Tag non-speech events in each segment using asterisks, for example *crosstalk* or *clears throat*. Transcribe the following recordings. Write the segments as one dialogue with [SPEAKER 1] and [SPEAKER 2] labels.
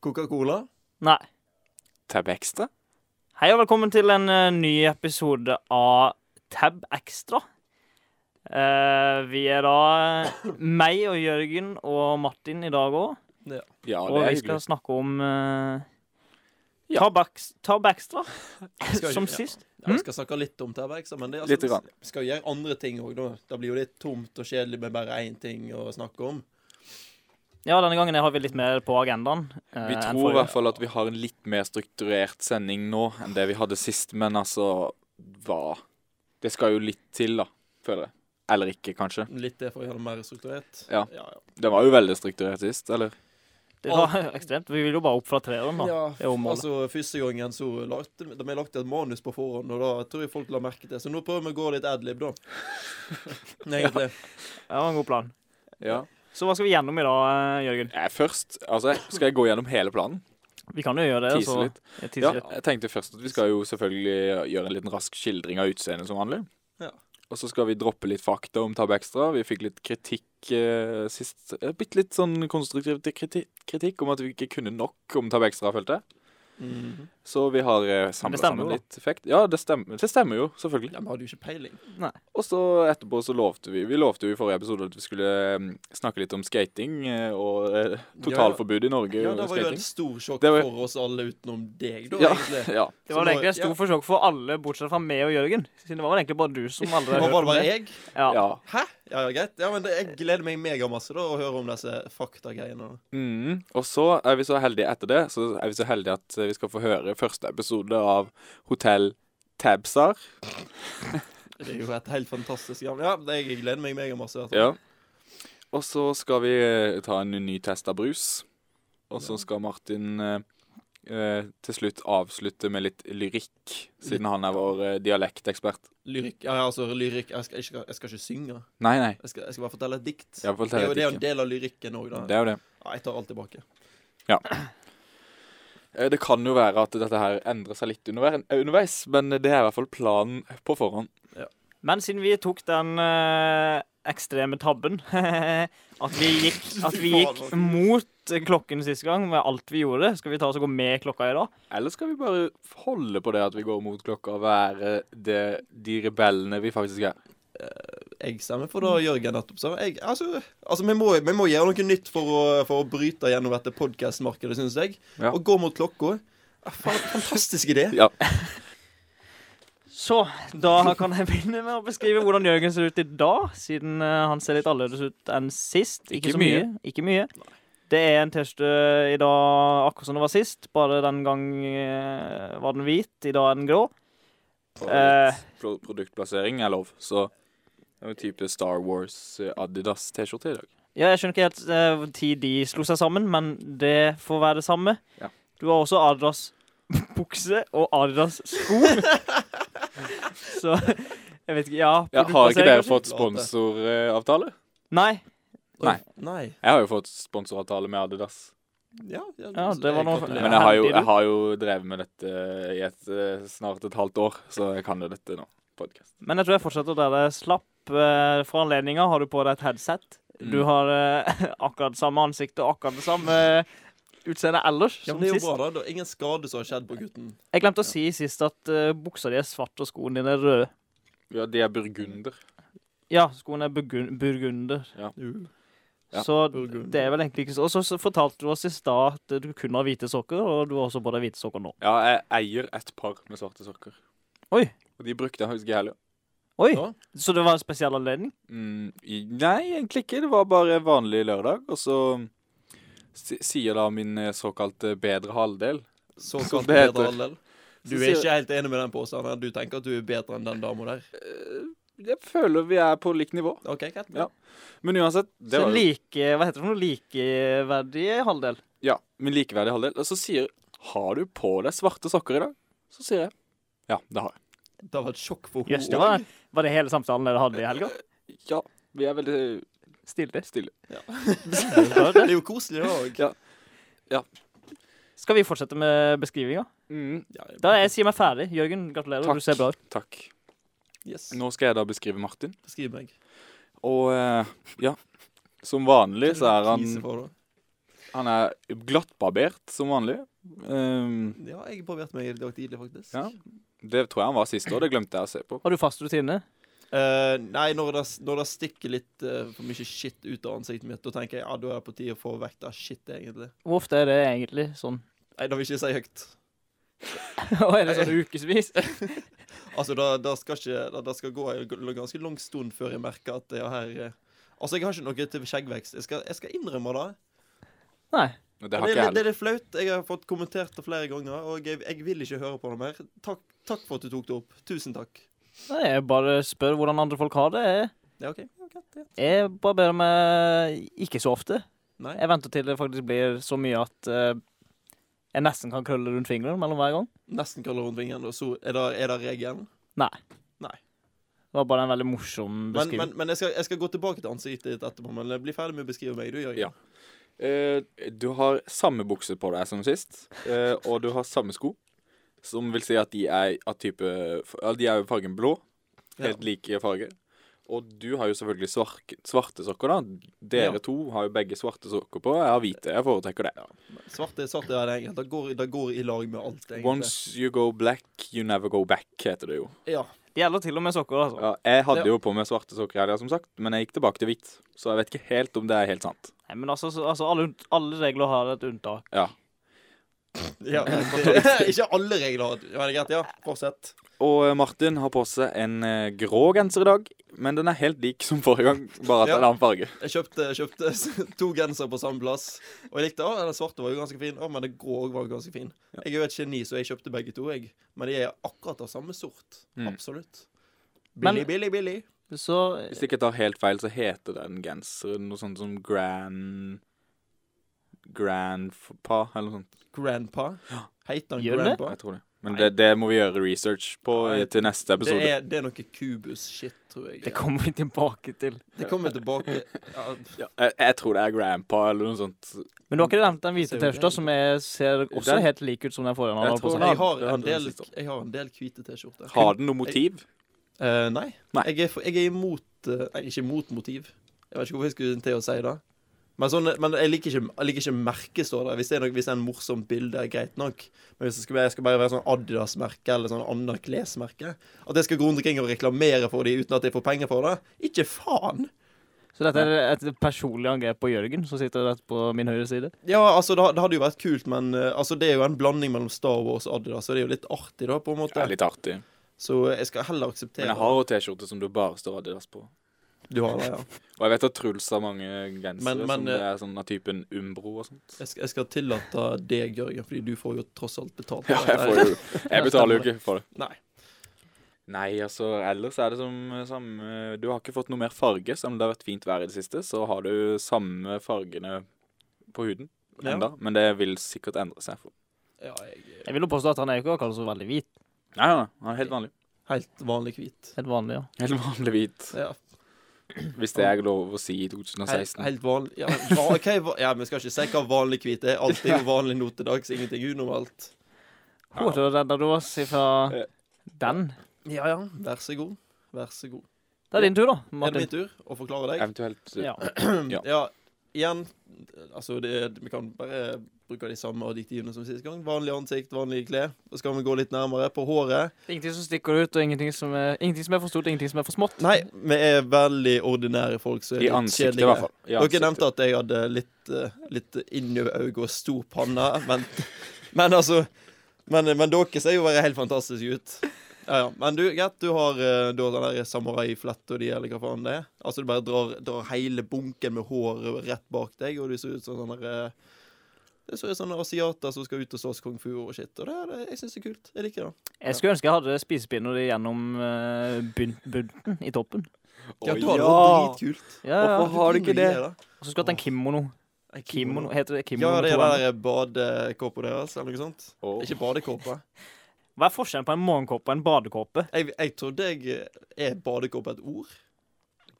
[SPEAKER 1] Coca-Cola.
[SPEAKER 2] Nei.
[SPEAKER 3] Tab Extra?
[SPEAKER 2] Hei og velkommen til en eh, ny episode av Tab Extra. Eh, vi er da eh, meg og Jørgen og Martin i dag òg.
[SPEAKER 3] Ja,
[SPEAKER 2] Og
[SPEAKER 3] det er
[SPEAKER 2] vi skal
[SPEAKER 3] hyggelig.
[SPEAKER 2] snakke om eh,
[SPEAKER 3] Ja.
[SPEAKER 2] Tab, Ex- Tab
[SPEAKER 3] *laughs*
[SPEAKER 2] Extra,
[SPEAKER 1] Skal ikke-
[SPEAKER 2] som
[SPEAKER 1] ja.
[SPEAKER 2] sist.
[SPEAKER 1] Ja, vi skal snakke litt om Terbergsa, men det er
[SPEAKER 3] Lite
[SPEAKER 1] altså,
[SPEAKER 3] grann.
[SPEAKER 1] vi skal gjøre andre ting òg nå. Da blir jo litt tomt og kjedelig med bare én ting å snakke om.
[SPEAKER 2] Ja, denne gangen har vi litt mer på agendaen. eh,
[SPEAKER 3] Vi
[SPEAKER 2] enn
[SPEAKER 3] tror i
[SPEAKER 2] forrige.
[SPEAKER 3] hvert fall at vi har en litt mer strukturert sending nå enn det vi hadde sist, men altså Hva? Det skal jo litt til, da, føler jeg. Eller ikke, kanskje.
[SPEAKER 1] Litt det for å gjøre det mer strukturert.
[SPEAKER 3] Ja.
[SPEAKER 1] Ja, ja.
[SPEAKER 3] Den var jo veldig strukturert sist, eller?
[SPEAKER 2] Det var jo *laughs* ekstremt. Vi vil jo bare opp fra treeren, da.
[SPEAKER 1] Ja,
[SPEAKER 2] Det er jo målet.
[SPEAKER 1] altså Første gangen så lagde de har lagt et manus på forhånd, og da tror jeg folk la merke til Så nå prøver vi å gå litt adlib, da. Nei, egentlig.
[SPEAKER 2] Det var en god plan.
[SPEAKER 3] Ja.
[SPEAKER 2] Så hva skal vi gjennom i dag, eh, Jørgen?
[SPEAKER 3] Jeg først Altså, skal jeg gå gjennom hele planen?
[SPEAKER 2] Vi kan jo gjøre det.
[SPEAKER 3] Tise
[SPEAKER 2] så-
[SPEAKER 3] litt.
[SPEAKER 2] Ja, tise
[SPEAKER 3] Ja,
[SPEAKER 2] litt.
[SPEAKER 3] jeg tenkte først at vi skal jo selvfølgelig gjøre en liten rask skildring av utseendet som vanlig.
[SPEAKER 1] Ja.
[SPEAKER 3] Og så skal vi droppe litt fakta om Tab Extra. Vi fikk litt kritikk eh, sist. Eh, Bitte litt sånn konstruktiv kritikk, kritikk om at vi ikke kunne nok om Tab Extra, følte jeg.
[SPEAKER 1] Mhm.
[SPEAKER 3] Så vi har eh,
[SPEAKER 2] Men det stemmer
[SPEAKER 3] samla sammen
[SPEAKER 2] jo, da.
[SPEAKER 3] litt effekt. Ja, det stemmer, det stemmer jo, selvfølgelig.
[SPEAKER 1] Ja, Vi hadde jo ikke peiling.
[SPEAKER 3] Og så etterpå så lovte vi Vi lovte jo i forrige episode at vi skulle eh, snakke litt om skating eh, og eh, totalforbud i Norge.
[SPEAKER 1] Ja, Det
[SPEAKER 3] og
[SPEAKER 1] var jo
[SPEAKER 3] skating.
[SPEAKER 1] et stort sjokk
[SPEAKER 3] Det var-
[SPEAKER 1] for oss alle utenom deg, da,
[SPEAKER 3] Ja. *laughs*
[SPEAKER 1] egentlig.
[SPEAKER 3] Ja.
[SPEAKER 2] Det
[SPEAKER 1] Så
[SPEAKER 2] var vel
[SPEAKER 1] nå-
[SPEAKER 2] egentlig et stort forsøk for alle, bortsett fra meg og Jørgen. Siden det var vel egentlig bare du
[SPEAKER 1] *laughs*
[SPEAKER 2] som aldri
[SPEAKER 1] Ja. Nå var
[SPEAKER 2] har
[SPEAKER 1] det
[SPEAKER 2] hørt om
[SPEAKER 1] bare
[SPEAKER 2] det.
[SPEAKER 1] jeg.
[SPEAKER 2] Ja.
[SPEAKER 3] ja.
[SPEAKER 1] Hæ? Ja, ja, greit. Ja, men det, Jeg gleder meg megamasse da å høre om disse faktagreiene.
[SPEAKER 3] Mm. Og så er vi så heldige etter det, så er vi så heldige at eh, vi skal få høre første episode av Hotell Tabsar.
[SPEAKER 1] Det er jo et helt fantastisk navn. Ja, det, jeg gleder meg megamasse. i hvert fall.
[SPEAKER 3] Ja. Og så skal vi eh, ta en ny test av brus. Og så skal Martin eh, eh, til slutt avslutte med litt lyrikk, siden han er vår eh, dialektekspert.
[SPEAKER 1] Lyrikk. Ja, ja, altså lyrikk. Jeg skal, jeg skal, jeg skal ikke synge.
[SPEAKER 3] Nei, nei.
[SPEAKER 1] Jeg skal, jeg skal bare fortelle et dikt.
[SPEAKER 3] Jeg
[SPEAKER 1] det er
[SPEAKER 3] forteller
[SPEAKER 1] jo det er jo
[SPEAKER 3] det
[SPEAKER 1] en
[SPEAKER 3] ikke.
[SPEAKER 1] del av lyrikken òg, da.
[SPEAKER 3] Det er jo det.
[SPEAKER 1] Ja, jeg tar alt tilbake.
[SPEAKER 3] Eh, Det kan jo være at dette her endrer seg litt underve- underveis, men det er i hvert fall planen på forhånd.
[SPEAKER 2] Men siden vi tok den eh, ekstreme tabben *laughs* at, vi gikk,
[SPEAKER 1] *laughs*
[SPEAKER 2] at vi gikk
[SPEAKER 1] altså.
[SPEAKER 2] mot eh, klokken sist gang med alt vi gjorde, skal vi ta oss og gå med klokka i dag?
[SPEAKER 3] Eller skal vi bare holde på det at vi går mot klokka og være det, de rebellene vi faktisk er?
[SPEAKER 1] Jeg stemmer for det Jørgen nettopp sa. Jeg- Altså, altså vi, må, vi må gjøre noe nytt for å, for å bryte gjennom dette podkastmarkedet, syns jeg.
[SPEAKER 3] Ja.
[SPEAKER 1] Og gå mot klokka. Ja, faen, Fantastisk idé.
[SPEAKER 3] Ja.
[SPEAKER 2] Så
[SPEAKER 1] *laughs*
[SPEAKER 2] da kan jeg begynne med å beskrive hvordan Jørgen ser ut i dag, siden eh, han ser litt annerledes ut enn sist. Ikke,
[SPEAKER 3] Ikke
[SPEAKER 2] så mye. Ikke mye. Det er en T-skjorte i dag akkurat som det var sist, bare den gang eh, var den hvit, i dag er den grå. Eh.
[SPEAKER 3] Pro- Produktplassering er lov, så det er jo type Star Wars eh, Adidas T-skjorte i dag.
[SPEAKER 2] Ja, jeg skjønner ikke helt eh, hvor tid de slo seg sammen, men det får være det samme.
[SPEAKER 3] Ja.
[SPEAKER 2] Du har også Adidas bukse og Adidas
[SPEAKER 3] *laughs*
[SPEAKER 2] sko. Så jeg vet ikke Ja.
[SPEAKER 3] Ja, har ikke dere
[SPEAKER 2] produktplassering,
[SPEAKER 3] fått sponsoravtale?
[SPEAKER 2] kanskje? Nei.
[SPEAKER 3] *laughs* Nei.
[SPEAKER 1] Nei.
[SPEAKER 3] Jeg har jo fått sponsoravtale med Adidas.
[SPEAKER 1] Ja, ja,
[SPEAKER 2] Ja, det var noe-
[SPEAKER 1] gratulerer.
[SPEAKER 3] Men jeg har jo, jeg har jo drevet med dette i et, eh, snart et halvt år, så jeg kan jo dette nå. Podcast.
[SPEAKER 2] Men jeg tror jeg fortsetter der det slapp. Eh, For anledninga har du på deg et headset. Du
[SPEAKER 3] Mm.
[SPEAKER 2] har eh, *laughs* akkurat samme ansikt og akkurat det samme eh, utseende ellers
[SPEAKER 1] Ja,
[SPEAKER 2] som
[SPEAKER 1] men det er jo
[SPEAKER 2] sist.
[SPEAKER 1] bra, da. Det er ingen skade som har skjedd på gutten.
[SPEAKER 2] Jeg glemte å si sist at eh, buksa di er svart og skoene dine er røde.
[SPEAKER 3] Ja, de er burgunder.
[SPEAKER 2] Ja, skoene er burgun- burgunder.
[SPEAKER 1] Uh,
[SPEAKER 3] Ja.
[SPEAKER 2] Så
[SPEAKER 1] Burgund.
[SPEAKER 2] det er vel egentlig ikke så Og så- så fortalte du oss i stad at du kun har hvite sokker, og du har også på deg hvite sokker nå.
[SPEAKER 3] Ja, jeg eier et par med svarte sokker.
[SPEAKER 2] Oi.
[SPEAKER 3] Og de brukte jeg faktisk i helga.
[SPEAKER 2] Oi!
[SPEAKER 1] Ja.
[SPEAKER 2] Så det var en spesiell anledning?
[SPEAKER 3] Mm, i- nei, egentlig ikke. Det var bare vanlig lørdag. Og så si- sier da min eh, såkalte bedre halvdel
[SPEAKER 1] Såkalt
[SPEAKER 3] det heter.
[SPEAKER 1] bedre halvdel. Du
[SPEAKER 3] Så
[SPEAKER 1] er
[SPEAKER 3] sier-
[SPEAKER 1] ikke helt enig med den påstanden? Du tenker at du er bedre enn den dama der?
[SPEAKER 3] Eh, Jeg føler vi er på likt nivå.
[SPEAKER 1] OK, greit.
[SPEAKER 3] Ja. Men uansett det
[SPEAKER 2] så
[SPEAKER 3] var
[SPEAKER 2] en
[SPEAKER 3] jo,
[SPEAKER 2] like Hva heter det for noe? Likeverdig halvdel?
[SPEAKER 3] ja, Min likeverdige halvdel. Og så sier Har du på deg svarte sokker i dag? Så sier jeg Ja, det har jeg.
[SPEAKER 1] Det var et sjokk for
[SPEAKER 2] Jøss,
[SPEAKER 1] henne
[SPEAKER 2] det var, var det hele samtalen dere hadde i *laughs* helga?
[SPEAKER 3] Ja, vi er veldig
[SPEAKER 2] Stilig.
[SPEAKER 3] stille.
[SPEAKER 1] *laughs* Det er jo koselig, det òg.
[SPEAKER 2] Skal vi fortsette med beskrivinga?
[SPEAKER 3] Mm,
[SPEAKER 2] Da er jeg sier meg ferdig. Jørgen, gratulerer.
[SPEAKER 3] Takk.
[SPEAKER 2] Du ser bra ut.
[SPEAKER 3] takk.
[SPEAKER 1] Yes.
[SPEAKER 3] Nå skal jeg da beskrive Martin.
[SPEAKER 1] Beskriv meg.
[SPEAKER 3] Og eh, ja, som vanlig så er han
[SPEAKER 1] Krise for det.
[SPEAKER 3] Han er glattbarbert som vanlig. Ehm,
[SPEAKER 1] Ja, jeg påvirket meg i dag tidlig, faktisk.
[SPEAKER 3] ja. Det tror jeg han var sist år. Det glemte jeg å se på.
[SPEAKER 2] Har du fast rutine?
[SPEAKER 1] Eh, nei, når det, når det stikker litt eh, for mye shit ut av ansiktet mitt, da tenker jeg ja, da er det på tide å få vekk det shit, egentlig.
[SPEAKER 2] Hvor ofte er det egentlig sånn? *laughs*
[SPEAKER 1] Nei, det vil jeg ikke si høyt.
[SPEAKER 2] Og er det sånn ukevis? *laughs*
[SPEAKER 1] Altså, det, det, skal, ikke, det, det skal gå en ganske lang stund før jeg merker at jeg har eh, Altså, jeg har ikke noe til skjeggvekst. Jeg skal, jeg skal innrømme det.
[SPEAKER 2] Nei.
[SPEAKER 1] Og
[SPEAKER 3] Det har
[SPEAKER 1] Det, er
[SPEAKER 3] ikke jeg
[SPEAKER 1] litt- det
[SPEAKER 3] heller.
[SPEAKER 1] er litt flaut. Jeg har fått kommentert det flere ganger, og jeg, jeg vil ikke høre på det mer. Takk, takk for at du tok det opp. Tusen takk.
[SPEAKER 2] Nei, jeg bare spør hvordan andre folk har det. Jeg-
[SPEAKER 1] Ja, OK. Ja, ok, ja.
[SPEAKER 2] Jeg barberer meg eh, ikke så ofte.
[SPEAKER 1] Nei.
[SPEAKER 2] Jeg venter til det faktisk blir så mye at eh, jeg nesten kan krølle rundt fingeren mellom hver gang.
[SPEAKER 1] Nesten krøller rundt vingen, og så er det, er det regelen.
[SPEAKER 2] Nei.
[SPEAKER 1] Nei.
[SPEAKER 2] Det var bare en veldig morsom
[SPEAKER 1] Men, men,
[SPEAKER 2] beskrivelse.
[SPEAKER 1] men jeg, skal, jeg skal gå tilbake til ansiktet ditt etterpå. Men bli ferdig med å beskrive meg, du, Jørgen.
[SPEAKER 3] Ja. Eh, du har samme bukse på deg som sist, eh, og du har samme sko. Som vil si at de er av type ja, De er jo fargen blå. Helt
[SPEAKER 1] Ja.
[SPEAKER 3] like farge. Og du har jo selvfølgelig svark, svarte sokker, da. Dere
[SPEAKER 1] Ja.
[SPEAKER 3] to har jo begge svarte sokker på. Jeg har hvite. Jeg foretrekker det.
[SPEAKER 1] Svart er svart, ja, det, er enkelt. det, går, det går i lag med alt, egentlig.
[SPEAKER 3] Once you go black, you never go back, heter det jo. *laughs*
[SPEAKER 1] Ja.
[SPEAKER 2] Det gjelder til og med sokker, altså.
[SPEAKER 3] Ja, jeg hadde
[SPEAKER 1] Det-
[SPEAKER 3] jo på meg svarte sokker, i helga, som sagt, men jeg gikk tilbake til hvitt. Så jeg vet ikke helt om det er helt sant.
[SPEAKER 2] Nei, men altså, så- altså alle, unnt- alle regler har et unntak.
[SPEAKER 3] Ja.
[SPEAKER 1] ja. *laughs* Ikke alle regler har ja, det er greit, ja. Fortsett.
[SPEAKER 3] Og eh, Martin har på seg en eh, grå genser i dag, men den er helt lik som forrige gang, bare at det er en
[SPEAKER 1] Ja.
[SPEAKER 3] annen farge.
[SPEAKER 1] Jeg kjøpte, kjøpte *laughs* to gensere på samme plass, og jeg likte å, den svarte var jo ganske fin, å, men den grå var ganske fin. Jeg er jo et geni, så jeg kjøpte begge to, jeg. Men de er akkurat av samme sort.
[SPEAKER 3] Mm.
[SPEAKER 1] Absolutt.
[SPEAKER 2] Men-
[SPEAKER 1] Billig, billig, billig.
[SPEAKER 2] Så eh,
[SPEAKER 3] Hvis jeg ikke tar helt feil, så heter den genseren noe sånt som Grand Grandpa, eller noe sånt.
[SPEAKER 1] Grandpa. Heter han
[SPEAKER 2] Gjør det?
[SPEAKER 1] grandpa?
[SPEAKER 3] Jeg tror det. Men det, det må vi gjøre research på eh, til neste
[SPEAKER 1] Det
[SPEAKER 3] episode.
[SPEAKER 1] er, det er noe kubus-shit, tror jeg.
[SPEAKER 2] det kommer vi tilbake til.
[SPEAKER 1] Det kommer tilbake ja,
[SPEAKER 3] Ja, jeg, jeg tror det er Grandpa, eller noe sånt.
[SPEAKER 2] Men du har ikke nevnt den hvite
[SPEAKER 1] Ser jo
[SPEAKER 2] T-skjorta,
[SPEAKER 1] greit
[SPEAKER 2] som jeg ser også
[SPEAKER 3] Den-
[SPEAKER 2] helt lik ut som den forrige han
[SPEAKER 3] Jeg
[SPEAKER 2] hadde på
[SPEAKER 3] tror
[SPEAKER 2] seg.
[SPEAKER 3] den
[SPEAKER 1] Jeg har
[SPEAKER 3] det
[SPEAKER 1] en
[SPEAKER 3] hadde jeg
[SPEAKER 1] del,
[SPEAKER 3] sett opp.
[SPEAKER 1] jeg har en del hvite T-skjorter.
[SPEAKER 3] Har den noe motiv?
[SPEAKER 1] Eh, nei.
[SPEAKER 3] Nei.
[SPEAKER 1] Jeg, er, for- jeg er imot eh, Nei, ikke imot motiv. Jeg vet ikke hvorfor jeg skulle til å si det. Men, sånn, men jeg liker ikke, jeg liker ikke merket, står det. Hvis det er, noe, hvis det er en morsomt bilde, er greit nok. Men hvis det skal, være- jeg skal bare være sånn Adidas-merke eller sånn annet klesmerke At jeg skal gå rundt omkring og reklamere for dem uten at jeg får penger for det? Ikke faen!
[SPEAKER 2] Så dette er et personlig angrep på Jørgen, som sitter rett på min høyre side.
[SPEAKER 1] Ja, altså, det, det hadde jo vært kult, men eh, altså, det er jo en blanding mellom Star Wars og Adidas, så det er jo litt artig, da, på en
[SPEAKER 3] Det
[SPEAKER 1] måte.
[SPEAKER 3] er litt artig.
[SPEAKER 1] Så jeg skal heller akseptere
[SPEAKER 3] Men jeg har jo T-skjorte som du bare står Adidas på.
[SPEAKER 1] Du har det, ja.
[SPEAKER 3] Og jeg vet at Truls har mange gensere
[SPEAKER 1] Men-
[SPEAKER 3] som
[SPEAKER 1] men,
[SPEAKER 3] det
[SPEAKER 1] eh,
[SPEAKER 3] er sånn av typen Umbro og sånt.
[SPEAKER 1] Jeg skal, jeg skal tillate deg, Jørgen, fordi du får jo tross alt betalt.
[SPEAKER 3] Ja, jeg får jo
[SPEAKER 1] *laughs*
[SPEAKER 3] Jeg betaler jo ikke for det.
[SPEAKER 1] Nei.
[SPEAKER 3] Nei, altså, ellers er det som eh, samme Du har ikke fått noe mer farge, selv om det har vært fint vær i det siste. Så har du samme fargene på huden
[SPEAKER 1] Ja.
[SPEAKER 3] enda, men det vil sikkert endre seg. For.
[SPEAKER 1] Ja, jeg
[SPEAKER 2] Jeg vil jo påstå at han er jo ikke akkurat så veldig hvit.
[SPEAKER 3] Nei, nei, nei, han er helt vanlig.
[SPEAKER 1] Helt vanlig hvit.
[SPEAKER 2] Helt vanlig, ja.
[SPEAKER 3] Helt vanlig hvit,
[SPEAKER 1] Ja,
[SPEAKER 3] hvis det er lov å si i
[SPEAKER 1] helt,
[SPEAKER 3] 2016.
[SPEAKER 1] helt vanlig ja, va- ok, va- ja, men skal ikke si hva vanlig hvit er. Alt
[SPEAKER 3] *laughs*
[SPEAKER 1] er jo vanlig nå til dags. Ingenting unormalt.
[SPEAKER 2] Å, da redder du oss ifra
[SPEAKER 3] Eh.
[SPEAKER 2] den.
[SPEAKER 1] Ja, ja. Vær så god. Vær så god.
[SPEAKER 2] Det er din tur, da,
[SPEAKER 1] Er det
[SPEAKER 2] Martin.
[SPEAKER 1] min tur å forklare deg?
[SPEAKER 3] Eventuelt eh, *clears throat*
[SPEAKER 2] Ja.
[SPEAKER 1] Ja.
[SPEAKER 3] Ja.
[SPEAKER 1] igjen Altså, det, vi kan bare bruke de samme adjektivene som sist gang. Vanlig ansikt, vanlige klær. Så skal vi gå litt nærmere på håret.
[SPEAKER 2] Ingenting som stikker ut, og ingenting som er, ingenting som er for stort, ingenting som er for smått.
[SPEAKER 1] Nei, vi er veldig ordinære folk, så er
[SPEAKER 3] i
[SPEAKER 1] litt
[SPEAKER 3] ansiktet, i
[SPEAKER 1] kjedelige.
[SPEAKER 3] hvert fall. I
[SPEAKER 1] Dere
[SPEAKER 3] ansiktet.
[SPEAKER 1] nevnte at jeg hadde litt, eh, litt innøvd øye og stor panne, men, men altså men, men dere ser jo bare helt fantastiske ut. Ja, ja. Men du, greit, du har eh, du har den der samuraifletta di, eller hva faen det er. Altså, du bare drar, drar hele bunken med hår rett bak deg, og du ser ut som sånn der eh, Det ser ut som sånne asiater som skal ut og slåss kung fu og shit. Og det, er- det, jeg syns det er kult. Jeg liker det.
[SPEAKER 2] Jeg skulle ønske jeg hadde spisepinner gjennom eh, bun- bunten i toppen.
[SPEAKER 3] Å,
[SPEAKER 1] Ja, du har det
[SPEAKER 3] ja!
[SPEAKER 1] dritkult.
[SPEAKER 2] Ja, ja.
[SPEAKER 3] Hvorfor har du ikke det?
[SPEAKER 2] Og så skulle jeg hatt en kimono.
[SPEAKER 1] En
[SPEAKER 2] Kimono, Heter det kimono?
[SPEAKER 1] Ja, det er
[SPEAKER 2] med to
[SPEAKER 1] den
[SPEAKER 2] ender?
[SPEAKER 1] der badekåpa deres, eller noe sånt.
[SPEAKER 3] Å.
[SPEAKER 1] Ikke badekåpa.
[SPEAKER 2] Hva er forskjellen på en morgenkåpe og en badekåpe?
[SPEAKER 1] *laughs* Jeg, jeg trodde jeg eh, Er badekåpe et ord?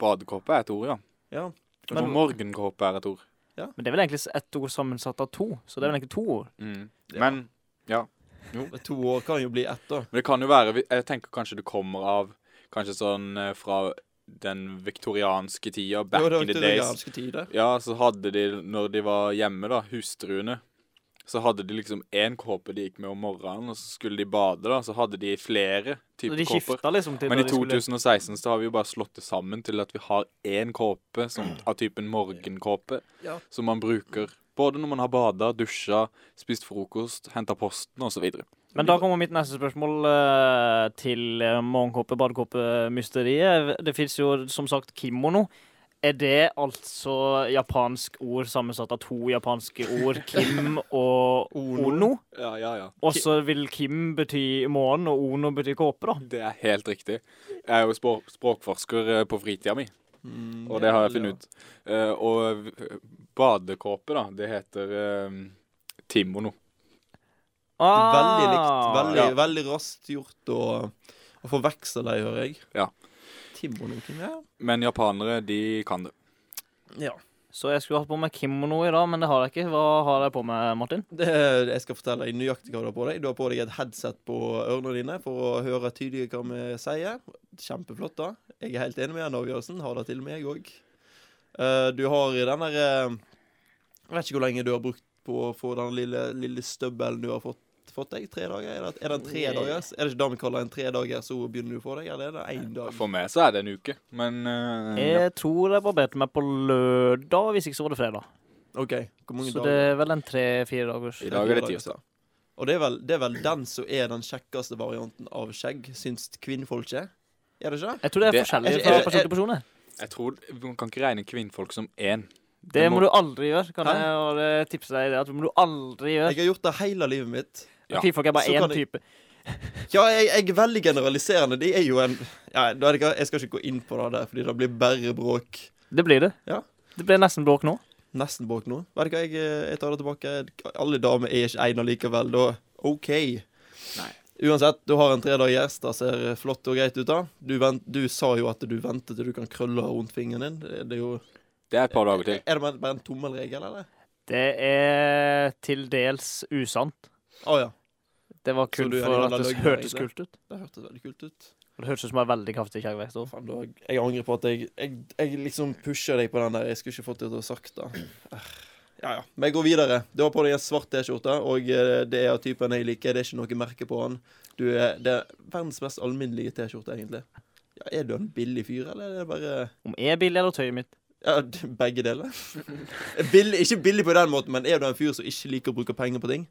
[SPEAKER 3] Badekåpe er et ord, ja.
[SPEAKER 1] Ja.
[SPEAKER 3] Men
[SPEAKER 2] Men-
[SPEAKER 3] morgenkåpe er et ord.
[SPEAKER 2] Men det er vel egentlig ett ord sammensatt av to, så det er vel egentlig to ord.
[SPEAKER 3] Mm.
[SPEAKER 1] Ja.
[SPEAKER 3] Men
[SPEAKER 1] To år kan jo bli ett, da.
[SPEAKER 3] Men det kan jo være Jeg tenker kanskje det kommer av Kanskje sånn eh, fra den viktorianske tida,
[SPEAKER 1] Det
[SPEAKER 3] back
[SPEAKER 1] var
[SPEAKER 3] in the days.
[SPEAKER 1] viktorianske tider.
[SPEAKER 3] Ja, så hadde de, når de var hjemme, da, hustruene, så hadde de liksom én kåpe de gikk med om morgenen, og så skulle de bade, da, så hadde de flere
[SPEAKER 2] Så
[SPEAKER 3] typer
[SPEAKER 2] de
[SPEAKER 3] kåper.
[SPEAKER 2] skifta liksom til
[SPEAKER 3] Men
[SPEAKER 2] når
[SPEAKER 3] i
[SPEAKER 2] de skulle-
[SPEAKER 3] 2016 så har vi jo bare slått det sammen til at vi har én kåpe som, av typen morgenkåpe,
[SPEAKER 1] Ja.
[SPEAKER 3] som man bruker både når man har bada, dusja, spist frokost, henta posten osv.
[SPEAKER 2] Men da kommer mitt neste spørsmål eh, til eh, morgenkåpe, badekåpe-mysteriet. Det fins jo som sagt kimono. Er det altså japansk ord sammensatt av to japanske ord, kim og
[SPEAKER 1] Ono.
[SPEAKER 2] ono?
[SPEAKER 3] Ja, ja, ja.
[SPEAKER 2] Og så vil kim bety månen, og ono betyr kåpe, da.
[SPEAKER 3] Det er helt riktig. Jeg er jo språk språkforsker eh, på fritida mi,
[SPEAKER 1] Mm,
[SPEAKER 3] og det har jeg funnet ut. Eh, og eh, badekåpe, da, det heter eh, timono.
[SPEAKER 2] Ah.
[SPEAKER 1] Veldig likt. Veldig,
[SPEAKER 3] Ja.
[SPEAKER 1] veldig raskt gjort å, å forveksle dem, hører jeg.
[SPEAKER 3] Ja.
[SPEAKER 1] Timonoken, ja.
[SPEAKER 3] Men japanere, de kan det.
[SPEAKER 1] ja.
[SPEAKER 2] Så jeg skulle hatt på meg kimono i dag, men det har jeg ikke. Hva har jeg på meg, Martin?
[SPEAKER 1] Det, jeg skal fortelle deg nøyaktig hva du har på deg. Du har på deg et headset på ørene dine for å høre tydelig hva vi sier. Kjempeflott, da. Jeg er helt enig med den avgjørelsen. Har det til meg òg. Du har den der eh, Jeg vet ikke hvor lenge du har brukt på å få den lille, lille støbbelen du har fått, fått deg. Tre dager? Er det, er det en tredagers? Er det ikke det vi kaller en tredager, så begynner du å få deg? Eller er det én dag?
[SPEAKER 3] For meg så er det en uke, men
[SPEAKER 1] Mm,
[SPEAKER 3] eh, ja.
[SPEAKER 2] Jeg tror jeg barberte meg på lørdag, hvis ikke så var det fredag.
[SPEAKER 1] OK, hvor mange
[SPEAKER 2] Så det
[SPEAKER 1] dager?
[SPEAKER 2] er vel en tre-fire dagers.
[SPEAKER 3] I dag er det
[SPEAKER 1] Fire dager,
[SPEAKER 3] tirsdag.
[SPEAKER 1] så. Og det er, vel, det er vel den som er den kjekkeste varianten av skjegg, syns kvinnfolket. Er det ikke? det?
[SPEAKER 2] Jeg tror det er
[SPEAKER 3] Det-
[SPEAKER 2] forskjellig
[SPEAKER 1] Jeg-
[SPEAKER 2] fra
[SPEAKER 1] jeg-
[SPEAKER 2] person til person. jeg.
[SPEAKER 3] Jeg tror Man kan ikke regne kvinnfolk som én.
[SPEAKER 2] Det
[SPEAKER 3] Det
[SPEAKER 2] må
[SPEAKER 3] må-
[SPEAKER 2] du aldri gjøre. Kan
[SPEAKER 1] Hæ?
[SPEAKER 2] jeg bare tipse deg i det? At det må du aldri gjøre.
[SPEAKER 1] Jeg har gjort det hele livet mitt.
[SPEAKER 3] Ja.
[SPEAKER 2] Kvinnfolk er
[SPEAKER 1] Så
[SPEAKER 2] bare
[SPEAKER 1] kan
[SPEAKER 2] én
[SPEAKER 1] jeg-
[SPEAKER 2] type.
[SPEAKER 1] Ja, jeg, jeg er veldig generaliserende. De er jo en ja, da er det ikke, Jeg skal ikke gå inn på det der, fordi det blir bare bråk.
[SPEAKER 2] Det blir det.
[SPEAKER 1] Ja.
[SPEAKER 2] Det blir nesten bråk nå.
[SPEAKER 1] Nesten bråk nå. Vet du hva, jeg, eh, jeg tar det tilbake. Alle damer er ikke ene likevel, da. OK. Uansett, du har en tredagers. Det ser flott og greit ut, da. Du, vent, du sa jo at du venter til du kan krølle rundt fingeren din. Det, det er jo
[SPEAKER 3] Det er et par dager til.
[SPEAKER 1] Er det bare bare en tommelregel, eller?
[SPEAKER 2] Det er til dels usant.
[SPEAKER 1] Å ja.
[SPEAKER 2] Det var kun
[SPEAKER 1] du er
[SPEAKER 2] for
[SPEAKER 1] en
[SPEAKER 2] at det
[SPEAKER 1] analog
[SPEAKER 2] hørtes
[SPEAKER 1] løgner,
[SPEAKER 2] kult ut.
[SPEAKER 1] Det hørtes veldig kult ut.
[SPEAKER 2] Det hørtes ut som en veldig kraftig kjerrvekt. også.
[SPEAKER 1] Faen, da, jeg angrer på at jeg, jeg, jeg liksom pusher deg på den der. Jeg skulle ikke fått det til å sagt det. Eh, Ja, ja. Men jeg går videre. Du har på deg en svart T-skjorte, og eh, det er av typen jeg liker. Det er ikke noe merke på den. Du er, det er verdens mest alminnelige T-skjorte, egentlig. Ja, er du en billig fyr, eller er det bare
[SPEAKER 2] Om jeg er billig eller tøyet mitt.
[SPEAKER 1] ja, *laughs* d- begge deler? *laughs* Billig, ikke billig på den måten, men er du en fyr som ikke liker å bruke penger på ting?